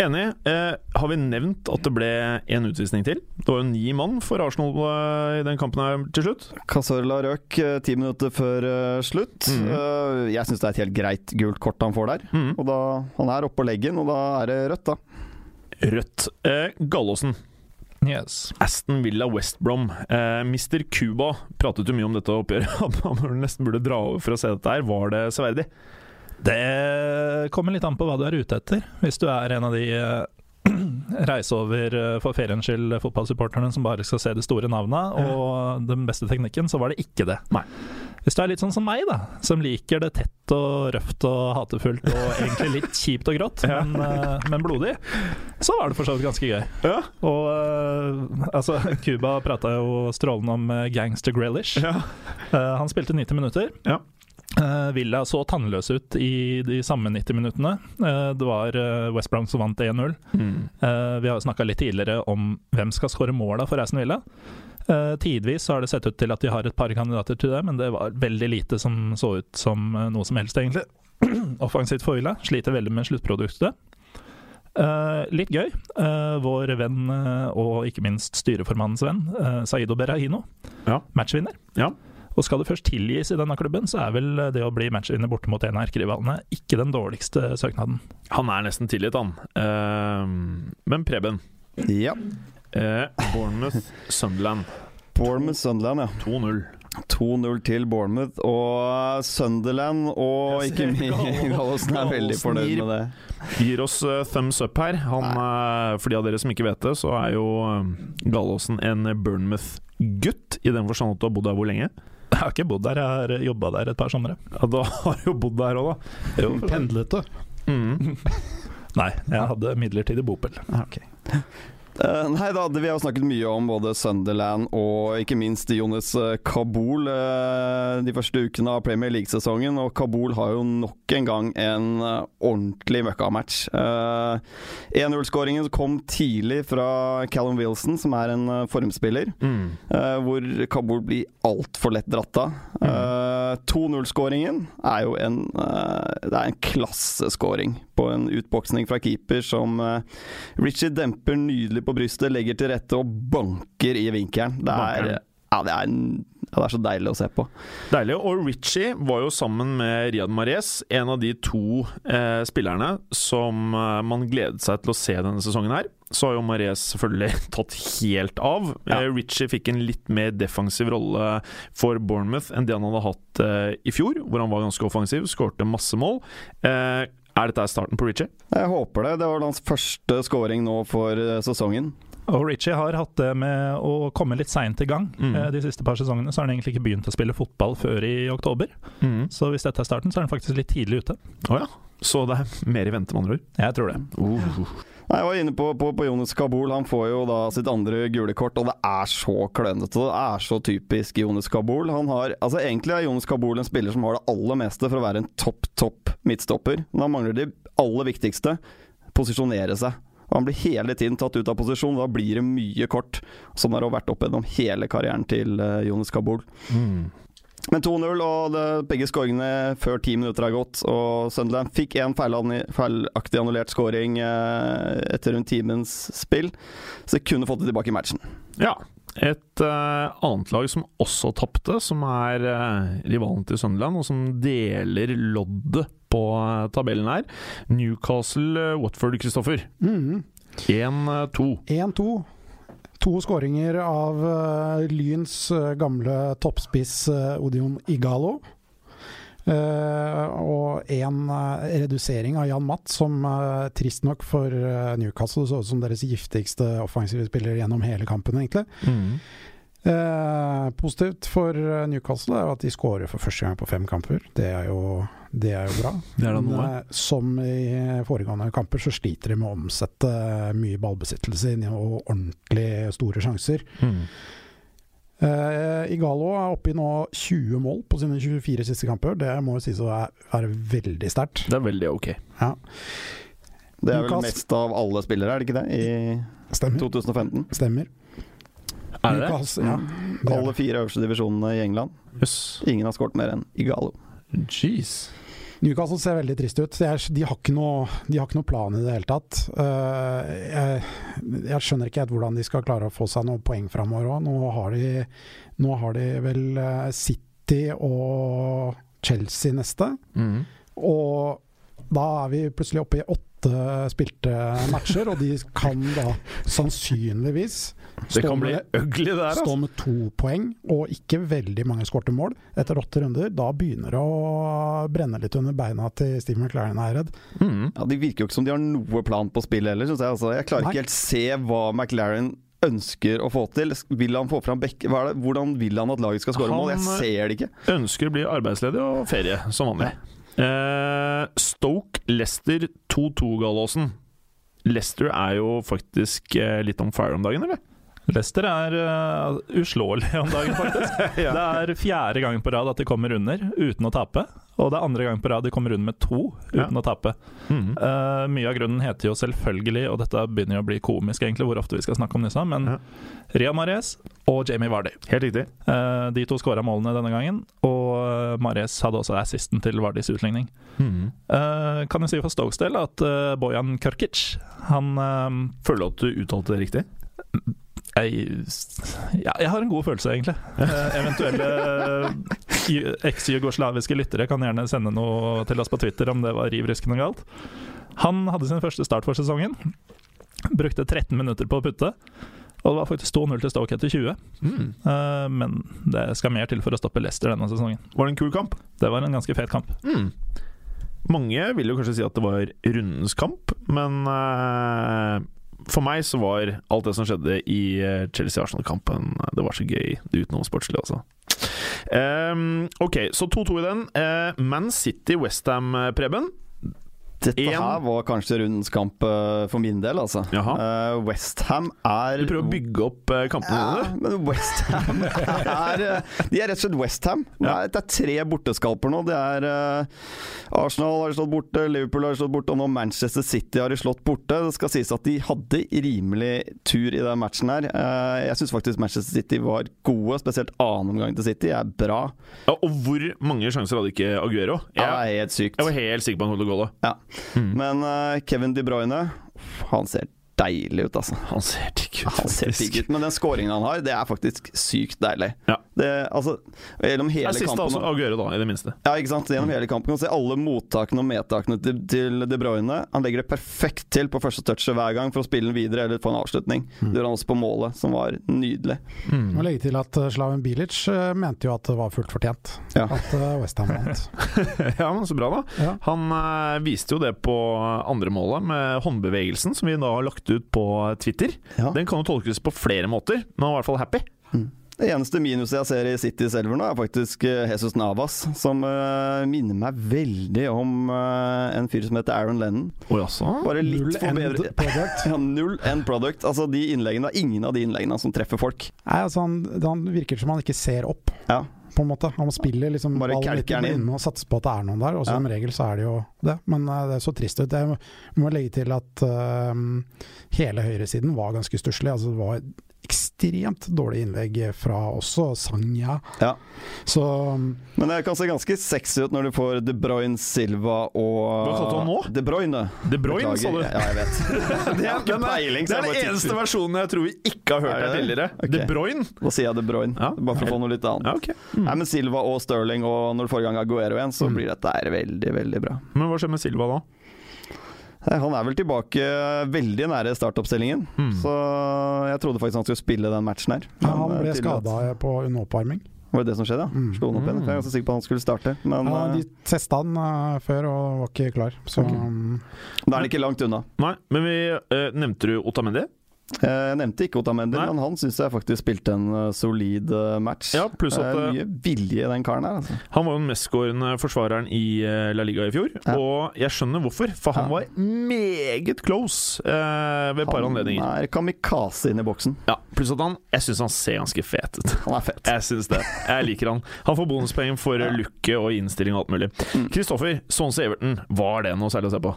Enig. Eh, har vi nevnt at det ble én utvisning til? Det var jo ni mann for Arsenal eh, i den kampen her til slutt. Cazorla røk eh, ti minutter før eh, slutt. Mhm. Eh, jeg syns det er et helt greit gult kort han får der. Mm. Og da, Han er oppå leggen, og da er det rødt, da. Rødt. Eh, Gallåsen. Yes. Aston Villa West Brom. Eh, Mr. Cuba pratet jo mye om dette oppgjøret. at Man burde- nesten burde dra over for å se dette her. Var det severdig? Det kommer litt an på hva du er ute etter. Hvis du er en av de eh, reise over eh, for feriens skyld fotballsupporterne som bare skal se det store navnet og den beste teknikken, så var det ikke det. Nei. Hvis du er litt sånn som meg, da, som liker det tett og røft og hatefullt og egentlig litt kjipt og grått, men, eh, men blodig, så var det for så vidt ganske gøy. Ja. Og eh, altså, Cuba prata jo strålende om eh, gangster Grealish. Ja. Eh, han spilte 90 minutter. Ja. Eh, Villa så tannløs ut i de samme 90 minuttene. Eh, det var eh, West Brown som vant 1-0. Mm. Eh, vi har jo snakka litt tidligere om hvem skal skåre måla for Aston Villa. Eh, tidvis så har det sett ut til at de har et par kandidater til det, men det var veldig lite som så ut som eh, noe som helst, egentlig. Offensivt for Villa. Sliter veldig med sluttproduktet. Eh, litt gøy. Eh, vår venn eh, og ikke minst styreformannens venn, eh, Saido Berahino, Ja. matchvinner. Ja. Og skal det først tilgis i denne klubben, så er vel eh, det å bli matchvinner borte mot en av erkerivalene ikke den dårligste søknaden. Han er nesten tilgitt, han. Eh, men Preben. Ja. Eh, Bournemouth Sunderland Bournemouth Sunderland, ja. 2-0. 2-0 til Bournemouth, og Sunderland og Jeg ikke ser minst Gallosen- Gallosen er veldig Gallosen fornøyd gir med det. Gir oss eh, thumbs up her. Han, eh, for de av dere som ikke vet det, så er jo eh, Gallåsen en Bournemouth-gutt. I den forstand at du har bodd der hvor lenge? Jeg har ikke bodd der, jeg har jobba der et par somre. Ja, da har du jo bodd der òg, da. Pendlet du? Mm. Nei, jeg hadde midlertidig bopel. Eh, nei da, det- vi har jo snakket mye om både Sunderland og ikke minst Jonis eh, Kabul eh, de første ukene av Premier League-sesongen. Og Kabul har jo nok en gang en eh, ordentlig møkkamatch. Uh, 1-0-skåringen kom tidlig fra Callum Wilson, som er en eh, formspiller. Mm. Eh, hvor Kabul blir altfor lett dratt av. Eh, 2-0-skåringen er jo en eh, Det er en klasseskåring på en utboksning fra keeper som eh, Richie demper nydelig på brystet, legger til rette og banker i vinkelen. Det er, Banker den. ja, det er, en- ja, det er så deilig å se på. Deilig. Og Richie var jo sammen med Riyad Mahrez en av de to eh, spillerne som eh, man gledet seg til å se denne sesongen her. Så har jo Mahrez selvfølgelig tatt helt av. Ja. Eh, Richie fikk en litt mer defensiv rolle for Bournemouth enn det han hadde hatt eh, i fjor, hvor han var ganske offensiv, skårte masse mål. Eh, er dette starten på Richie? Jeg håper det. Det var hans første scoring nå for eh, sesongen. Og Richie har hatt det med å komme litt seint i gang. Mm. Eh, De siste par sesongene så har han egentlig ikke begynt å spille fotball før i oktober. Mm. Så hvis dette er starten, så er han faktisk litt tidlig ute. Så det er mer i vente, med andre ord. Jeg tror det. Nei, Jeg var inne på, på, på Jonis Kabul. Han får jo da sitt andre gule kort, og det er så klønete. Det er så typisk Jonis Kabul. Han har, altså Egentlig er Jonis Kabul en spiller som har det aller meste for å være en topp, topp midtstopper. Men han mangler det aller viktigste posisjonere seg. Og Han blir hele tiden tatt ut av posisjon, da blir det mye kort. Sånn har det vært opp gjennom hele karrieren til eh, Jonis Kabul. Mm. Men 2-0, og det, begge skåringene før ti minutter er gått. Og Sunderland fikk én feilan- feilaktig annullert skåring eh, etter rundt timens spill, så de kunne fått det tilbake i matchen. Ja. Et eh, annet lag som også tapte, som er eh, rivalen til Sunderland, og som deler loddet på eh, tabellen her. Newcastle eh, Watford, eh, Kristoffer. Mhm. 1-2. 1-2. To skåringer av eh, Lyns eh, gamle toppspiss eh, Odion Igalo. Eh, og en eh, redusering av Jan Matt, som eh, trist nok for eh, Newcastle så ut som deres giftigste offensive spiller gjennom hele kampen, egentlig. Mm. Eh, positivt for eh, Newcastle er jo at de skårer for første gang på fem kamper. Det er jo, det er jo bra. Det er da Men, noe. eh, som i foregående kamper så sliter de med å omsette eh, mye ballbesittelse inn i og ordentlig store sjanser. Mm. Eh, Igalo er oppe i nå 20 mål på sine 24 siste kamper. Det må jo sies å være, være veldig sterkt. Det er veldig ok. Det er vel Newcastle- mest av alle spillere, er det ikke det? I Stemmer. 2015. Stemmer. Er det det? Newcastle- ja, det er Mm. Alle fire øverste divisjonene i England. Jøss. Ingen har skåret mer enn Igalo. Jeez. Newcastle ser veldig trist ut. Det er, de, har ikke noe, de har ikke noe plan i det hele tatt. Eh, jeg, jeg skjønner ikke helt hvordan de skal klare å få seg noen poeng framover òg. Nå, har de- nå har de vel eh, City og Chelsea neste. Mm. Og da er vi plutselig oppe i åtte spilte matcher, og de kan da sannsynligvis Det Stå kan bli med- ugly der, altså. stå med to poeng og ikke veldig mange skårte mål etter åtte runder. Da begynner det å brenne litt under beina til Steve McLaren, er jeg redd. Mm. Ja, De virker jo ikke som de har noe plan på spillet heller, syns jeg. Altså, jeg klarer Nei. ikke helt se hva McLaren ønsker å få til. Vil han få fram Beck... Hva er det? Hvordan vil han at laget skal skåre Han- mål? eh, Jeg ser det ikke. Ønsker å bli arbeidsledig og ferie, som vanlig. Eh, Stoke Leicester 2-2-Gallåsen. Leicester er jo faktisk eh, litt on fire om dagen, eller? Leicester er eh, uslåelig om dagen, faktisk. Det er fjerde gang på rad at de kommer under uten å tape. Og det er andre gang på rad de kommer under med to Ja. uten å tape. Mhm. Eh, mye av grunnen heter jo selvfølgelig, og dette begynner jo å bli komisk egentlig, hvor ofte vi skal snakke om disse, men Ja. Ria Mares og Jamie Vardy. Helt riktig. Eh, de to skåra målene denne gangen, og Mares hadde også assisten til Vardys utligning. Mhm. Eh, kan jeg si for Stokes del at eh, Bojan Kørkic Han eh, Føler du at du uttalte det riktig? jeg, ja, jeg har en god følelse, egentlig. Eh, eventuelle eh, ju- eks-jugoslaviske lyttere kan gjerne sende noe til oss på Twitter om det var riv ruskende galt. Han hadde sin første start for sesongen. Brukte 13 minutter på å putte. Og det var faktisk 2-0 til Stoke etter 20, Mm. eh, men det skal mer til for å stoppe Leicester denne sesongen. Var det en kul kamp? Det var en ganske fet kamp. Mm. Mange vil jo kanskje si at det var rundens kamp, men eh, for meg så var alt det som skjedde i eh, Chelsea-Arsenal-kampen eh, Det var så gøy utenom sportslig, altså. Ehm, ok, så 2-2 i den. Eh, Man City Westham, Preben. Dette En- her var kanskje rundens kamp eh, for min del, altså. Jaha. Eh, West Westham er Du prøver å bygge opp eh, kampene ja, dine. men Westham er eh, De er rett og slett Westham. Det, Ja. er- det er tre borteskalper nå. Det er eh, Arsenal har de slått borte, Liverpool har de slått borte, og nå Manchester City har de slått borte. Det skal sies at de hadde rimelig tur i den matchen her. Eh, jeg syns faktisk Manchester City var gode, spesielt annen omgang til City er bra. Ja, og hvor mange sjanser hadde ikke Aguero? Ja, Jeg, det er helt sykt. jeg var helt sikker på han holdt gålet. Ja. Mm. Men eh, Kevin De Bruyne, han ser deilig ut, altså. Han ser digg ut, Han ser faktisk. digg ut, men den scoringen han har, det er faktisk sykt deilig. Ja. Det, altså, gjennom Det hele er siste kampen altså Aguero, da, i det minste. ja, ikke sant? Gjennom hele kampen kan du se alle mottakene og medtakene til, til De Bruyne. Han legger det perfekt til på første touchet hver gang for å spille den videre eller få en avslutning. Mm. Det gjør han også på målet, som var nydelig. Mm. Må legge til at eh, Slaven Bilic eh, mente jo at det var fullt fortjent Ja. at eh, West Ham vant. Ja, men så bra, da. Ja. Han eh, viste jo det på andre målet med håndbevegelsen, som vi da har lagt ut på Twitter. Ja. Den kan jo tolkes på flere måter, men han var i hvert fall happy. Det eneste minuset jeg ser i City selv nå, er faktisk eh, Jesus Navas, som eh, minner meg veldig om eh, en fyr som heter Aaron Lennon. Oi, altså. Bare litt forbedret product. Ja, null end product. Altså, de innleggene, det er ingen av de innleggene som treffer folk. Nei, altså han, han virker som han ikke ser opp, Ja. på en måte. Han spiller liksom Bare ballen litt i kalker han inn. blinde og satser på at det er noen der, og Ja. som regel så er det jo det. Men eh, det er så trist ut. Jeg må, må legge til at eh, hele høyresiden var ganske stusslig. Altså, det var ekstremt dårlig innlegg fra også Sanja. Ja. Så Men det kan se ganske sexy ut når du får De Bruyne, Silva og Hva kalte du han nå? De Bruyne. De Bruyne, sa du. Beklager. Ja, jeg vet. Det Jeg har er, ikke peiling, det så er jeg den bare eneste tipper. versjonen jeg tror vi ikke har hørt Er her det tidligere. det? De Ok. Bruyne. Da sier jeg De Bruyne, Ja. bare for å få noe litt annet. Ja, ok. Mm. Nei, men Silva og Sterling, og når du får i gang Aguero igjen, så Mm. blir dette her veldig, veldig bra. Men hva skjer med Silva da? Nei, Han er vel tilbake eh, veldig nære startoppstillingen, Mm. så jeg trodde faktisk han skulle spille den matchen her. ja, han Men, eh, ble tydeligvis- skada på under oppvarming. Var det det som skjedde, ja? Mm. Slo han opp igjen? Jeg er ganske sikker på at han skulle starte, men Ja, eh, de testa han eh, før og var ikke klar. Så Ok. um, eh, da er han ikke langt unna. Nei, men vi eh, Nevnte du Otamendi? Eh, Jeg nevnte ikke Otamendi, Nei. men han syns jeg faktisk spilte en eh, solid eh, match. Ja, pluss at, eh, Det er mye vilje i den karen her, altså. Han var jo den mestskårende forsvareren i eh, La Liga i fjor. Ja. Og jeg skjønner hvorfor, for han Ja. var meget close eh, ved et par anledninger. Han er kamikaze inne i boksen. Ja, Pluss at han Jeg syns han ser ganske fet ut. Han er fett. Jeg syns det. Jeg liker han. Han får bonuspoeng for eh, looket og innstilling og alt mulig. Kristoffer, Sonse Everton, var det noe særlig å se på?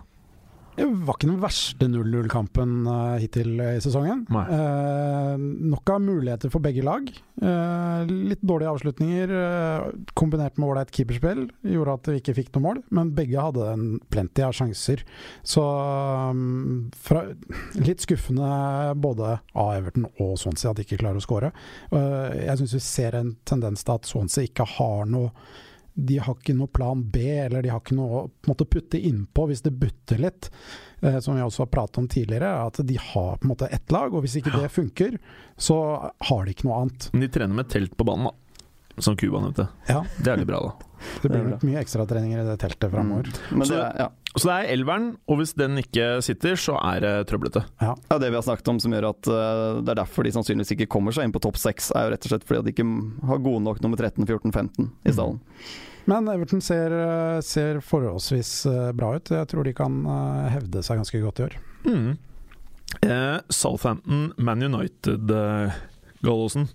Det var ikke den verste 0-0-kampen eh, hittil i sesongen. Nei. Eh, nok av muligheter for begge lag. Eh, litt dårlige avslutninger eh, kombinert med ålreit keeperspill gjorde at vi ikke fikk noe mål, men begge hadde en plenty av sjanser. Så um, fra, litt skuffende både av Everton og Swansea at de ikke klarer å skåre. Eh, jeg syns vi ser en tendens til at Swansea ikke har noe de har ikke noe plan B, eller de har ikke noe å på en måte, putte innpå hvis det butter litt. Eh, som vi også har pratet om tidligere, er at de har på en måte ett lag, og hvis ikke det funker, så har de ikke noe annet. De trener med telt på banen, da. Som Cuba nevnte. Ja, Det er litt bra, da. Det blir nok mye ekstratreninger i det teltet framover. Mm. Men Så- det, er- ja. Så det er elveren, og hvis den ikke sitter, så er det trøblete. Ja, det vi har snakket om som gjør at eh, det er derfor de sannsynligvis ikke kommer seg inn på topp seks, er jo rett og slett fordi at de ikke har gode nok nummer 13, 14, 15 i stallen. Men Everton ser, eh, ser forholdsvis eh, bra ut. Jeg tror de kan eh, hevde seg ganske godt i år. Mm. Eh, Southampton, Man United, eh, Gallosen.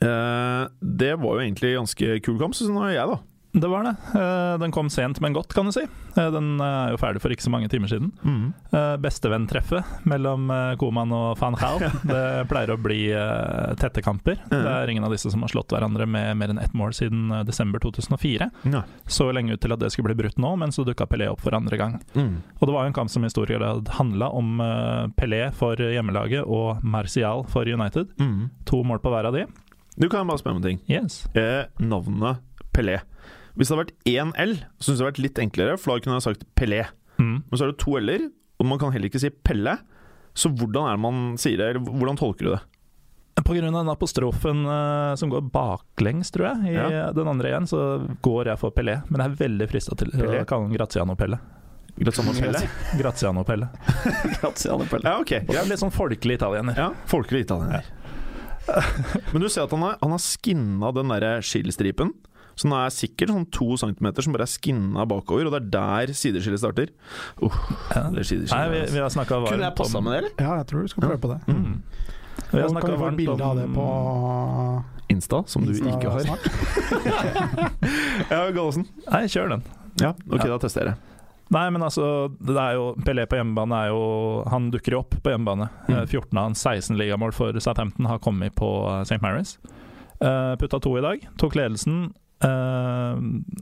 Eh, det var jo egentlig ganske kul kamp, syns nå jeg, da. Det var det. Eh, Den kom sent, men godt, kan du si. Eh, Den eh, er jo ferdig for ikke så mange timer siden. Mm. Eh, Bestevenntreffet mellom eh, Koman og van Gaal. Det pleier å bli eh, tette kamper. Det er ingen av disse som har slått hverandre med mer enn ett mål siden eh, desember 2004. Ja. Så lenge ut til at det skulle bli brutt nå, men så dukka Pelé opp for andre gang. Mm. Og det var jo en kamp som i stor grad handla om eh, Pelé for hjemmelaget og Martial for United. To mål på hver av de. Mm. Du kan bare spørre om en ting. Yes. eh, navnet Pelé. Hvis det hadde vært én L, syns jeg det hadde vært litt enklere, for da kunne jeg sagt Pelé. Mm. Men så er det to L-er, og man kan heller ikke si Pelle. Så hvordan er det man sier det, eller hvordan tolker du det? På grunn av den apostrofen eh, som går baklengs, tror jeg, i Ja. den andre igjen, så går jeg for Pelé. Men jeg er veldig frista til Pelé? å kalle han Graziano Pelle. Graziano Pelle? Graziano Pelle. Graziano Pelle. Mm. Ja, ok. Det er Litt sånn folkelig italiener. Ja, Folkelig italiener. Men du ser at han har, han har skinna den der skillestripen. Så den er sikkert sånn to centimeter som bare er skinna bakover, og det er der sideskillet starter. Uh, det Ja. er Nei, vi, sideskillet. altså. vi har snakka varmt Kunne jeg passa med det, eller? Ja, jeg tror du skal prøve på det. Mm. Vi Og har kan snakket vi få et varmt bilde av det om- på Insta, som du Insta ikke har. snart? Ja, Gallosen. Nei, kjør den. Ja, ok, da tester jeg det. Nei, men altså, det er jo, Pelé på hjemmebane er jo Han dukker jo opp på hjemmebane. Mm. Eh, 14 av hans 16 ligamål for Southampton har kommet på eh, St. Mary's. Eh, putta to i dag. Tok ledelsen eh,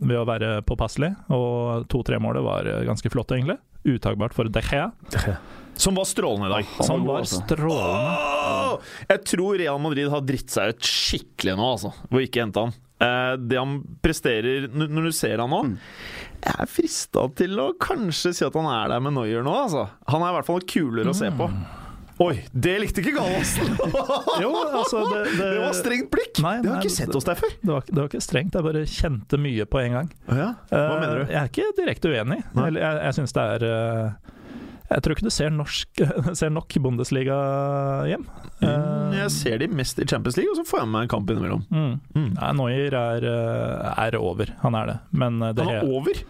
ved å være påpasselig, og to-tre-målet var eh, ganske flott, egentlig. Uttagbart for De Gea, Som var strålende i dag. som god, var altså. strålende. Åh! Jeg tror Real Madrid har dritt seg ut skikkelig nå, altså. Hvor ikke hente han. Eh, Det han presterer n- når du ser han nå Jeg er frista til å kanskje si at han er der med Noyer nå, altså. Han er i hvert fall kulere å se på. Oi, det likte ikke Gallosen! Jo, altså det, det, Det var strengt blikk! Nei, det har nei, ikke sett oss der før. det, var, ikke- det var ikke strengt, jeg bare kjente mye på en gang. Hva Eh, mener du? Jeg er ikke direkte uenig. Nei. Eller Jeg, jeg syns det er eh, Jeg tror ikke du ser, norsk, ser nok Bundesliga hjem. Eh, Mm, Jeg ser de mest i Champions League, og så får jeg med meg en kamp innimellom. Mm. Mm. Nei, Neuer er, eh, er over, han er det. Men eh, det Han er he- over!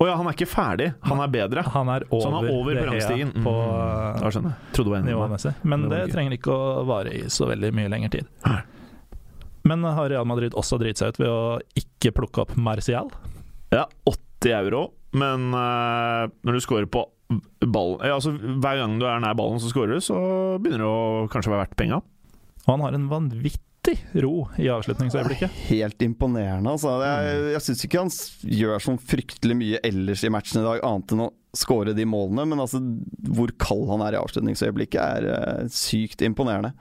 Å ja, han er ikke ferdig. Han er bedre. han er over, Så han er over Mm, det he- prangstigen. på Da skjønner jeg. Trodde du var eh, enig med meg. nivåmessig. Men Det var det gøy. trenger ikke å vare i så veldig mye lenger tid. Nei. Men eh, har Real Madrid også driti seg ut ved å ikke plukke opp Martial? Ja, 80 euro, men eh, når du scorer på ballen ja, altså, Hver gang du er nær ballen, så scorer du, så begynner det å kanskje være verdt penga. Og han har en vanvittig ro i avslutningsøyeblikket. Helt imponerende, altså. Jeg, jeg syns ikke han s- gjør sånn fryktelig mye ellers i matchen i dag, annet enn å skåre de målene. Men altså, hvor kald han er i avslutningsøyeblikket, er eh, sykt imponerende.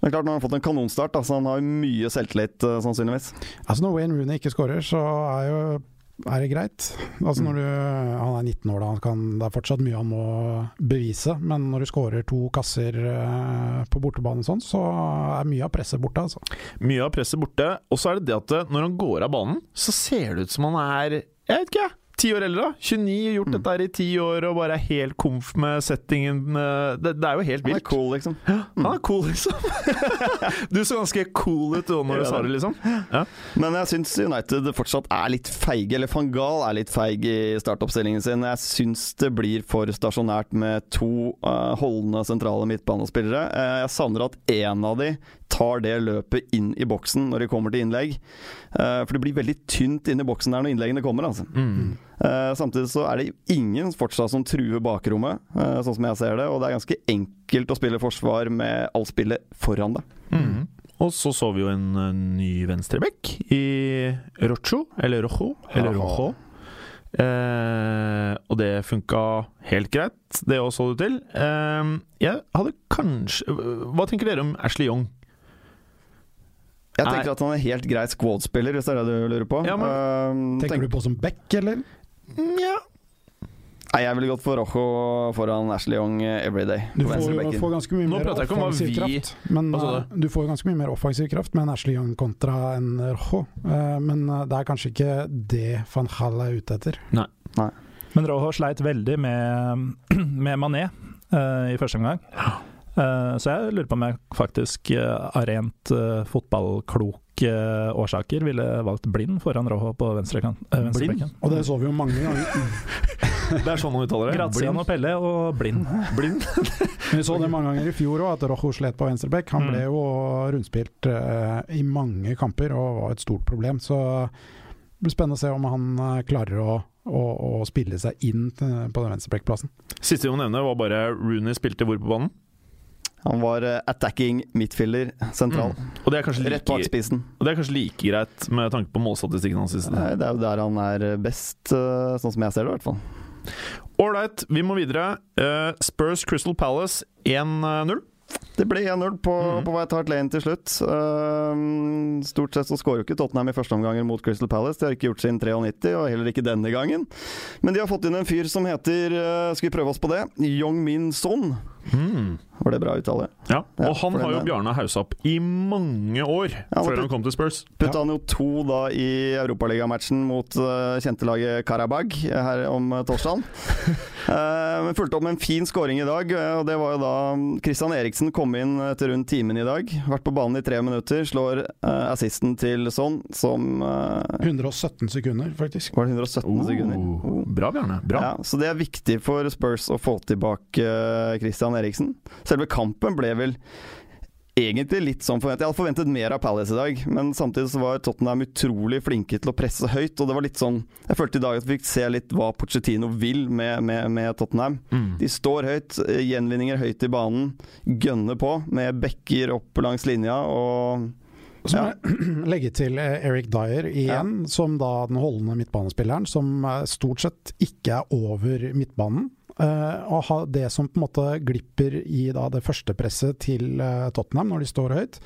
Men klart, nå har han fått en kanonstart, da, så han har jo mye selvtillit, eh, sannsynligvis. Altså Når Wayne Rooney ikke skårer, så er jo er det greit. Altså når du, Han er 19 år, da. Han kan, det er fortsatt mye han må bevise. Men når du skårer to kasser eh, på bortebane, og sånn, så er mye av presset borte. Altså. Mye av presset borte, og så er det det at eh, når han går av banen, så ser det ut som han er Jeg vet ikke, jeg. Ti år eldre, da. 29, Mm. gjort dette her i ti år og bare er helt komf med settingen. eh, Det, det er jo helt Han er vilt. cool, liksom. Han er cool, liksom. du så ganske cool ut da når du sa det, liksom. Men jeg syns United fortsatt er litt feige, eller van Gaal er litt feig i startoppstillingen sin. Jeg syns det blir for stasjonært med to eh, holdende sentrale midtbanespillere. Eh, jeg savner at én av de tar det løpet inn i boksen når de kommer til innlegg. Eh, for det blir veldig tynt inn i boksen der når innleggene kommer, altså. Eh, samtidig så er det ingen fortsatt som truer bakrommet, eh, sånn som jeg ser det. Og det er ganske enkelt å spille forsvar med alt spillet foran deg. Mm. Og så så vi jo en eh, ny venstreback i Rocho, eller Rojo, eller Rojo. Rojo. Eh, og det funka helt greit, det òg, så det til. Eh, jeg hadde kanskje Hva tenker dere om Ashley Young? Jeg Nei. tenker at han er helt grei squad-spiller, hvis det er det du lurer på. Ja, Eh, tenk- Tenker du på som back, eller? Nja Nei, jeg ville gått for Rojo foran Ashley Young eh, every day. Du på får, venstrebekken. får ganske mye Nå mer prater jeg ikke om hva offensiv vi- kraft. Men, Hva sa eh, du får ganske mye mer offensiv kraft med en Ashley Young kontra en Rojo. Eh, Men eh, det er kanskje ikke det van Hall er ute etter. Men Rojo sleit veldig med, med Mané eh, i første omgang. Eh, så jeg lurer på om jeg faktisk eh, av rent eh, fotballklok eh, årsaker ville valgt blind foran Rojo på venstrekant. eh, venstrebekken. Og det så vi jo mange ganger. Det er sånn han uttaler det. Graziano Pelle og blind. Blind. Vi så det mange ganger i fjor òg, at Rojo slet på venstreback. Han ble jo rundspilt eh, i mange kamper og var et stort problem. Så det blir spennende å se om han eh, klarer å, å, å spille seg inn eh, på den venstrebackplassen. Siste vi må nevne, var bare Rooney spilte hvor på banen. Han var eh, attacking midtfiller sentral. Mm. Og det er kanskje Rett bak like, spissen. og det er kanskje like greit med tanke på målstatistikken hans. siste. Nei, Det er jo der han er best, eh, sånn som jeg ser det, i hvert fall. Ålreit, vi må videre. Eh, Spurs Crystal Palace 1-0. Det ble 1-0 på, Mhm. på White Hart Lane til slutt. Ehm, stort sett så skårer jo ikke Tottenham i førsteomganger mot Crystal Palace. De har ikke gjort sin 93, og heller ikke denne gangen. Men de har fått inn en fyr som heter eh, Skal vi prøve oss på det? Yong-min Son. Mm. Var det bra uttale? Ja, Ja, og han for har jo den- Bjarne haussa opp i mange år Ja, før det- han kom til Spurs. Putta han jo to da i europaligamatchen mot uh, kjentelaget Karabag her om uh, torsdagen. Eh, men fulgte opp med en fin scoring i dag. eh, og Det var jo da mm, Christian Eriksen kom inn etter rundt timen i dag. Vært på banen i tre minutter. Slår eh, assisten til Son, som eh, 117 sekunder, faktisk. Var det 117 sekunder? Oh, Bra, Bjarne. Bra. Ja, så det er viktig for Spurs å få tilbake eh, Christian Eriksen. Selve kampen ble vel egentlig litt som forventet. Jeg hadde forventet mer av Palace i dag, men samtidig så var Tottenham utrolig flinke til å presse høyt, og det var litt sånn Jeg følte i dag at vi fikk se litt hva Pochettino vil med, med, med Tottenham. Mm. De står høyt, eh, gjenvinninger høyt i banen, gønner på med bekker opp langs linja og Så må jeg legge til eh, Eric Dyer igjen, som da den holdende midtbanespilleren, som eh, stort sett ikke er over midtbanen. Eh, og ha det som på en måte glipper i da, det første presset til eh, Tottenham når de står høyt,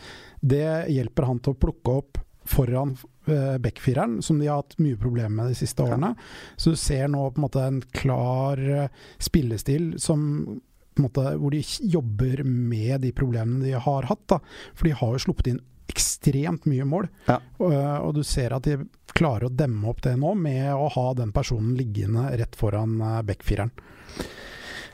det hjelper han til å plukke opp foran eh, backfireren, som de har hatt mye problemer med de siste Ja. årene. Så du ser nå på en måte en klar eh, spillestil som på en måte, hvor de jobber med de problemene de har hatt. Da. For de har jo sluppet inn ekstremt mye mål. Ja. Og, og du ser at de klarer å demme opp det nå med å ha den personen liggende rett foran eh, backfireren.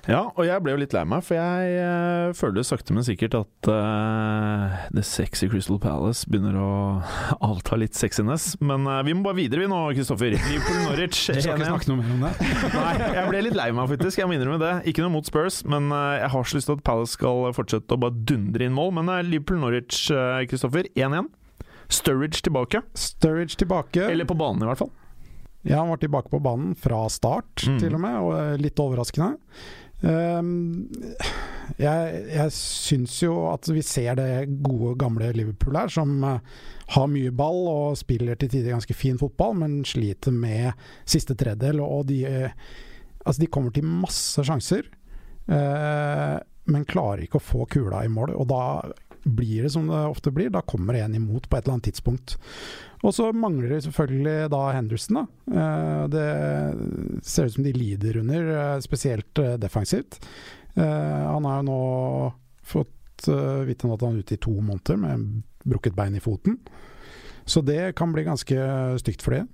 Ja, og jeg ble jo litt lei meg, for jeg eh, føler sakte, men sikkert at eh, The Sexy Crystal Palace begynner å avta litt sexiness. Men eh, vi må bare videre, vi nå, Kristoffer. Liverpool Norwich. Du skal 1-1. ikke snakke noe mer om det? Nei, jeg ble litt lei meg, faktisk. Jeg må innrømme det. Ikke noe mot Spurs, men eh, jeg har så lyst til at Palace skal fortsette å bare dundre inn mål. Men eh, Liverpool Norwich, eh, Kristoffer, 1-1. Sturridge tilbake. Sturridge tilbake. Eller på banen, i hvert fall. Ja, han var tilbake på banen fra start, Mm. til og med, og eh, litt overraskende. Ehm, jeg jeg syns jo at vi ser det gode, gamle Liverpool her, som eh, har mye ball og spiller til tider ganske fin fotball, men sliter med siste tredjedel. Og de, eh, altså de kommer til masse sjanser, eh, men klarer ikke å få kula i mål. Og da blir det som det ofte blir, da kommer det en imot på et eller annet tidspunkt. Og så mangler det selvfølgelig da Henderson. da. Eh, Det ser ut som de lider under, eh, spesielt eh, defensivt. Eh, Han har jo nå fått eh, vite nå at han er ute i to måneder med brukket bein i foten. Så det kan bli ganske stygt for det.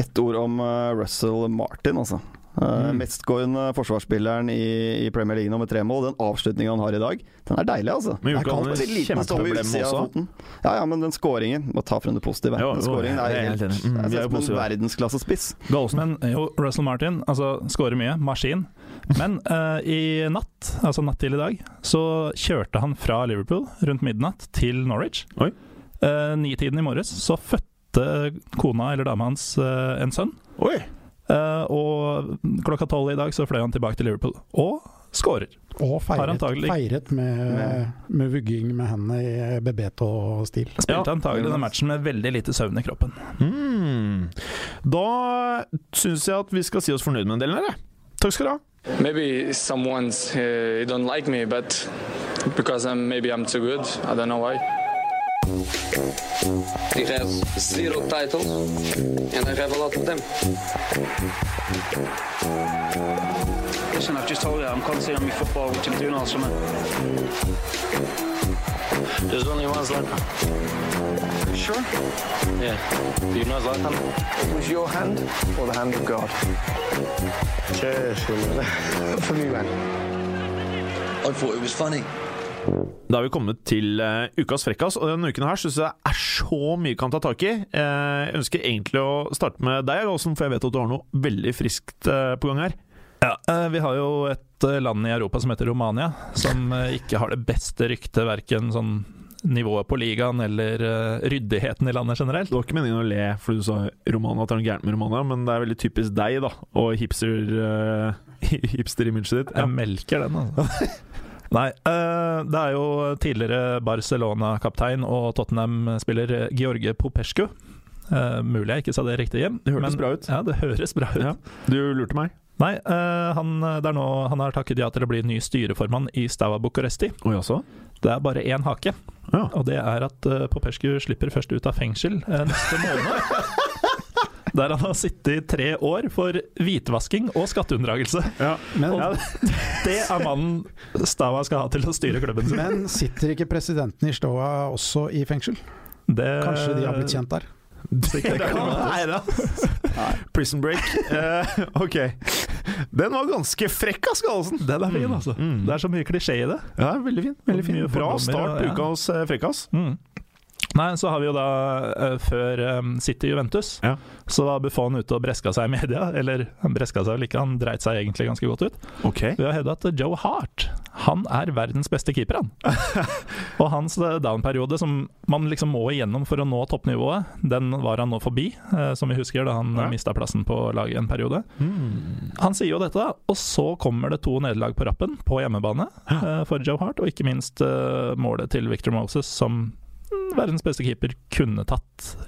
Ett ord om eh, Russell Martin, altså. Eh, Mm. Mestgående forsvarsspilleren i, i Premier League nå med tre mål. Den avslutninga han har i dag, den er deilig, altså. Men Det er gjorde ikke han kaldt, et en liten stolpe i kjempeproblem utsida av også? foten. Ja, ja, men den skåringen Må ta frem det positive. Jo, den jo, skåringen jeg er er helt helt enig. Mm, vi er jeg jo ser ut som en positive. verdensklassespiss. Galesen. Men jo, Russell Martin altså, skårer mye, maskin. Men eh, i natt, altså natt til i dag, så kjørte han fra Liverpool rundt midnatt til Norwich. Oi. Eh, nitiden i morges så fødte kona eller dama hans eh, en sønn. Oi! Eh, og klokka tolv i dag så fløy han tilbake til Liverpool, og skårer. Og Har feiret, antagelig- feiret med, med vugging med hendene i Bebeto-stil. Spilte Ja, antagelig den matchen med veldig lite søvn i kroppen. Mm. Da syns jeg at vi skal si oss fornøyd med en del, eller? Takk skal du ha. Maybe someone's uh, don't like me, but because I'm maybe I'm too good. I don't know why. He has zero titles, and I have a lot of them. Listen, I've just told you I'm concentrating on my football, which I'm doing all summer. There's only one Zlatan. Sure? Yeah. Do you know Zlatan? was your hand or the hand of God? For me, man. I thought it was funny. Da har vi kommet til eh, ukas frekkas, og denne uken her syns jeg er så mye kan ta tak i. Eh, jeg ønsker egentlig å starte med deg, Galsen, for jeg vet at du har noe veldig friskt eh, på gang her. Ja, eh, Vi har jo et eh, land i Europa som heter Romania, som eh, ikke har det beste ryktet, verken sånn nivået på ligaen eller eh, ryddigheten i landet generelt. Det var ikke meningen å le fordi du sa Romana, at det er noe gærent med Romana, men det er veldig typisk deg, da, og hipster, eh, hipster-imaget ditt. Jeg melker den, altså. Nei, eh, det er jo tidligere Barcelona-kaptein og Tottenham-spiller George Popescu. Eh, mulig jeg ikke sa det riktig, Jim. Det hørtes bra ut. Ja, det høres bra ut. Ja. Du lurte meg. Nei, eh, han, det er nå, han har takket ja til å bli ny styreformann i Staua Bucuresti. Det er bare én hake, og det er at eh, Popescu slipper først ut av fengsel eh, neste måned. Der han har sittet i tre år for hvitvasking og skatteunndragelse. og det er mannen Staua skal ha til å styre klubben sin. Men sitter ikke presidenten i Stoa også i fengsel? Det- Kanskje de har blitt kjent der? Sikkert. Det kan være. Prison Break. Eh, ok. Den var ganske frekk, ass, Gallosen. Den er fin, altså. Det er så mye klisjé i det. Ja, veldig fin. Veldig fin. Mye Bra fordommer, start på ja. uka hos eh, Frekkas. Mm. Nei, så har vi jo da eh, før eh, City Juventus, Ja. så var Buffon ute og breska seg i media. Eller han breska seg vel ikke, han dreit seg egentlig ganske godt ut. Ok. Vi har hevda at Joe Hart han er verdens beste keeper, han. og hans eh, down-periode, som man liksom må igjennom for å nå toppnivået, den var han nå forbi, eh, som vi husker, da han Ja. ja. mista plassen på laget en periode. Mm. Han sier jo dette, og så kommer det to nederlag på rappen på hjemmebane eh, for Joe Hart, og ikke minst eh, målet til Victor Moses, som mm, verdens beste keeper kunne tatt,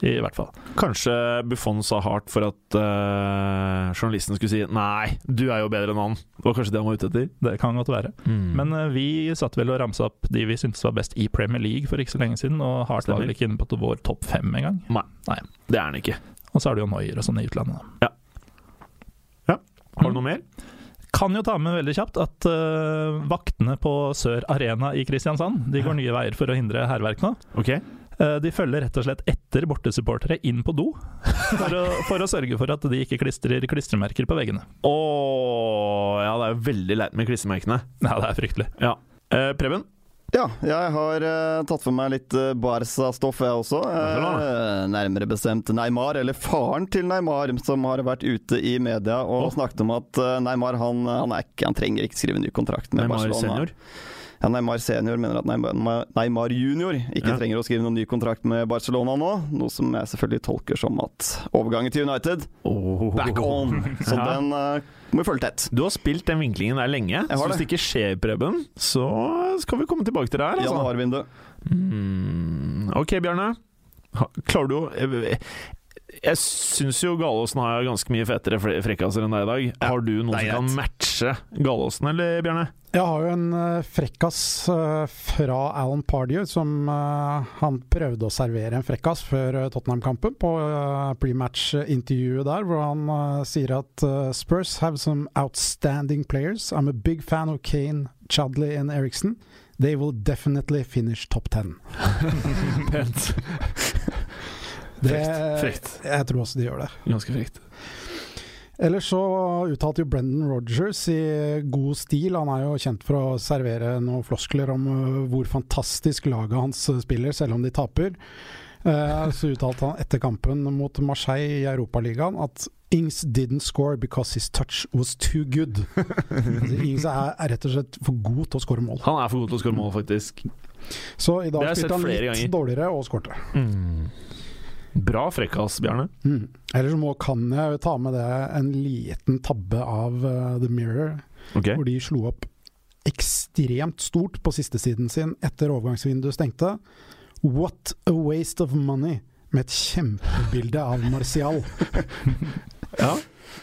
i hvert fall. Kanskje Buffon sa hardt for at eh, journalisten skulle si Nei, du er jo bedre enn han. Det var kanskje det han var ute etter. Det kan godt være. Mm. Men eh, vi satt vel og ramsa opp de vi syntes var best i Premier League for ikke så lenge siden, og Hart var Stemmer. vel ikke inne på t- vår topp fem engang. Nei. Nei. det er han ikke. Og så er det jo Noyer og sånn i utlandet. da. Har du noe mer? Kan jo ta med veldig kjapt at eh, vaktene på Sør Arena i Kristiansand De går nye veier for å hindre hærverk nå. Ok. Eh, De følger rett og slett etter bortesupportere inn på do, for å, for å sørge for at de ikke klistrer klistremerker på veggene. Åh, ja, det er jo veldig leit med klissemerkene. Ja, det er fryktelig. Ja. Eh, Preben? Ja, jeg har eh, tatt for meg litt eh, Barca-stoff, jeg også. Eh, nærmere bestemt Neymar, eller faren til Neymar, som har vært ute i media og snakket om at eh, Neymar han, han, er ikke, han trenger ikke skrive ny kontrakt med Neymar Barcelona. senior? Ja, Neymar senior mener at Neymar, Neymar junior ikke Ja. trenger å skrive noen ny kontrakt med Barcelona nå, noe som jeg selvfølgelig tolker som at overgangen til United back on! Så Ja. den eh, må vi følge tett. Du har spilt den vinklingen der lenge, Jeg har så hvis det. det ikke skjer, Preben, så skal vi komme tilbake til det her. Altså. Januarvindu. Mm, ok, Bjarne. Ha- Klarer du å Jeg, jeg syns jo Galåsen har ganske mye fetere fre- frekkaser enn deg i dag. Har du noen det er som kan matche Galåsen, eller, Bjarne? Jeg har jo en eh, frekkas eh, fra Alan Pardew, som eh, han prøvde å servere en frekkas før eh, Tottenham-kampen, på eh, pre-match-intervjuet der, hvor han eh, sier at eh, Spurs have some outstanding players. I'm a big fan of Kane, Chadley and Eriksen. They will definitely finish top ten. Pent. Det- frekt. Jeg tror også de gjør det. Ganske frekt. Ellers så uttalte jo Brendan Rogers i god stil, han er jo kjent for å servere noen floskler om øh, hvor fantastisk laget hans øh, spiller, selv om de taper. Eh, Så uttalte han etter kampen mot Marseille i Europaligaen at Ings didn't score because his touch was too good. Altså, Ings er, er rett og slett for god til å skåre mål. Han er for god til å skåre mål, faktisk. Så i Det dag har jeg sett spilte han litt flere ganger. dårligere og skårte. Mm. Bra frekkas, Bjarne. Mm. Ellers må, kan jeg jo ta med det en liten tabbe av eh, The Mirror. Ok. hvor de slo opp ekstremt stort på sistesiden sin etter overgangsvinduet stengte. What a waste of money! Med et kjempebilde av Martial. Ja.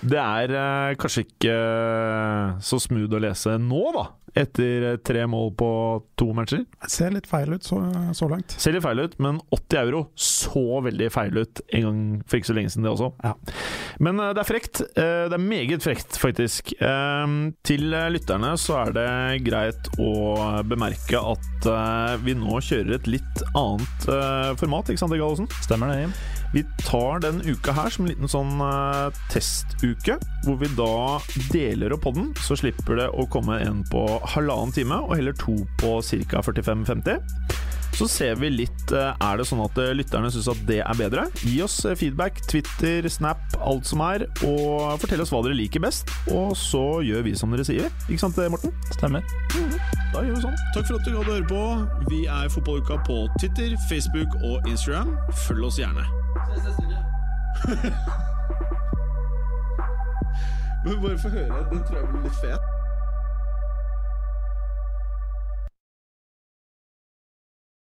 Det er eh, kanskje ikke eh, så smooth å lese nå, da. Etter eh, tre mål på to matcher. Ser litt feil ut så, så langt. Ser litt feil ut, men 80 euro så veldig feil ut en gang for ikke så lenge siden, det også. Ja. Men eh, det er frekt. Eh, det er meget frekt, faktisk. Eh, til eh, lytterne så er det greit å bemerke at eh, vi nå kjører et litt annet eh, format, ikke sant, Egil Gallosen? Stemmer det, Jim? Vi tar den uka her som en liten sånn eh, testuke, hvor vi da deler opp podden, så slipper det å komme en på halvannen time, og heller to på ca. 45-50. Så ser vi litt eh, Er det sånn at eh, lytterne syns at det er bedre? Gi oss eh, feedback, Twitter, Snap, alt som er, og fortell oss hva dere liker best. Og så gjør vi som dere sier. Ikke sant, eh, Morten? Stemmer. Da gjør vi sånn. Takk for at du gadd å høre på. Vi er Fotballuka på Twitter, Facebook og Instagram. Følg oss gjerne. Men bare få høre. Den tror jeg blir litt fet.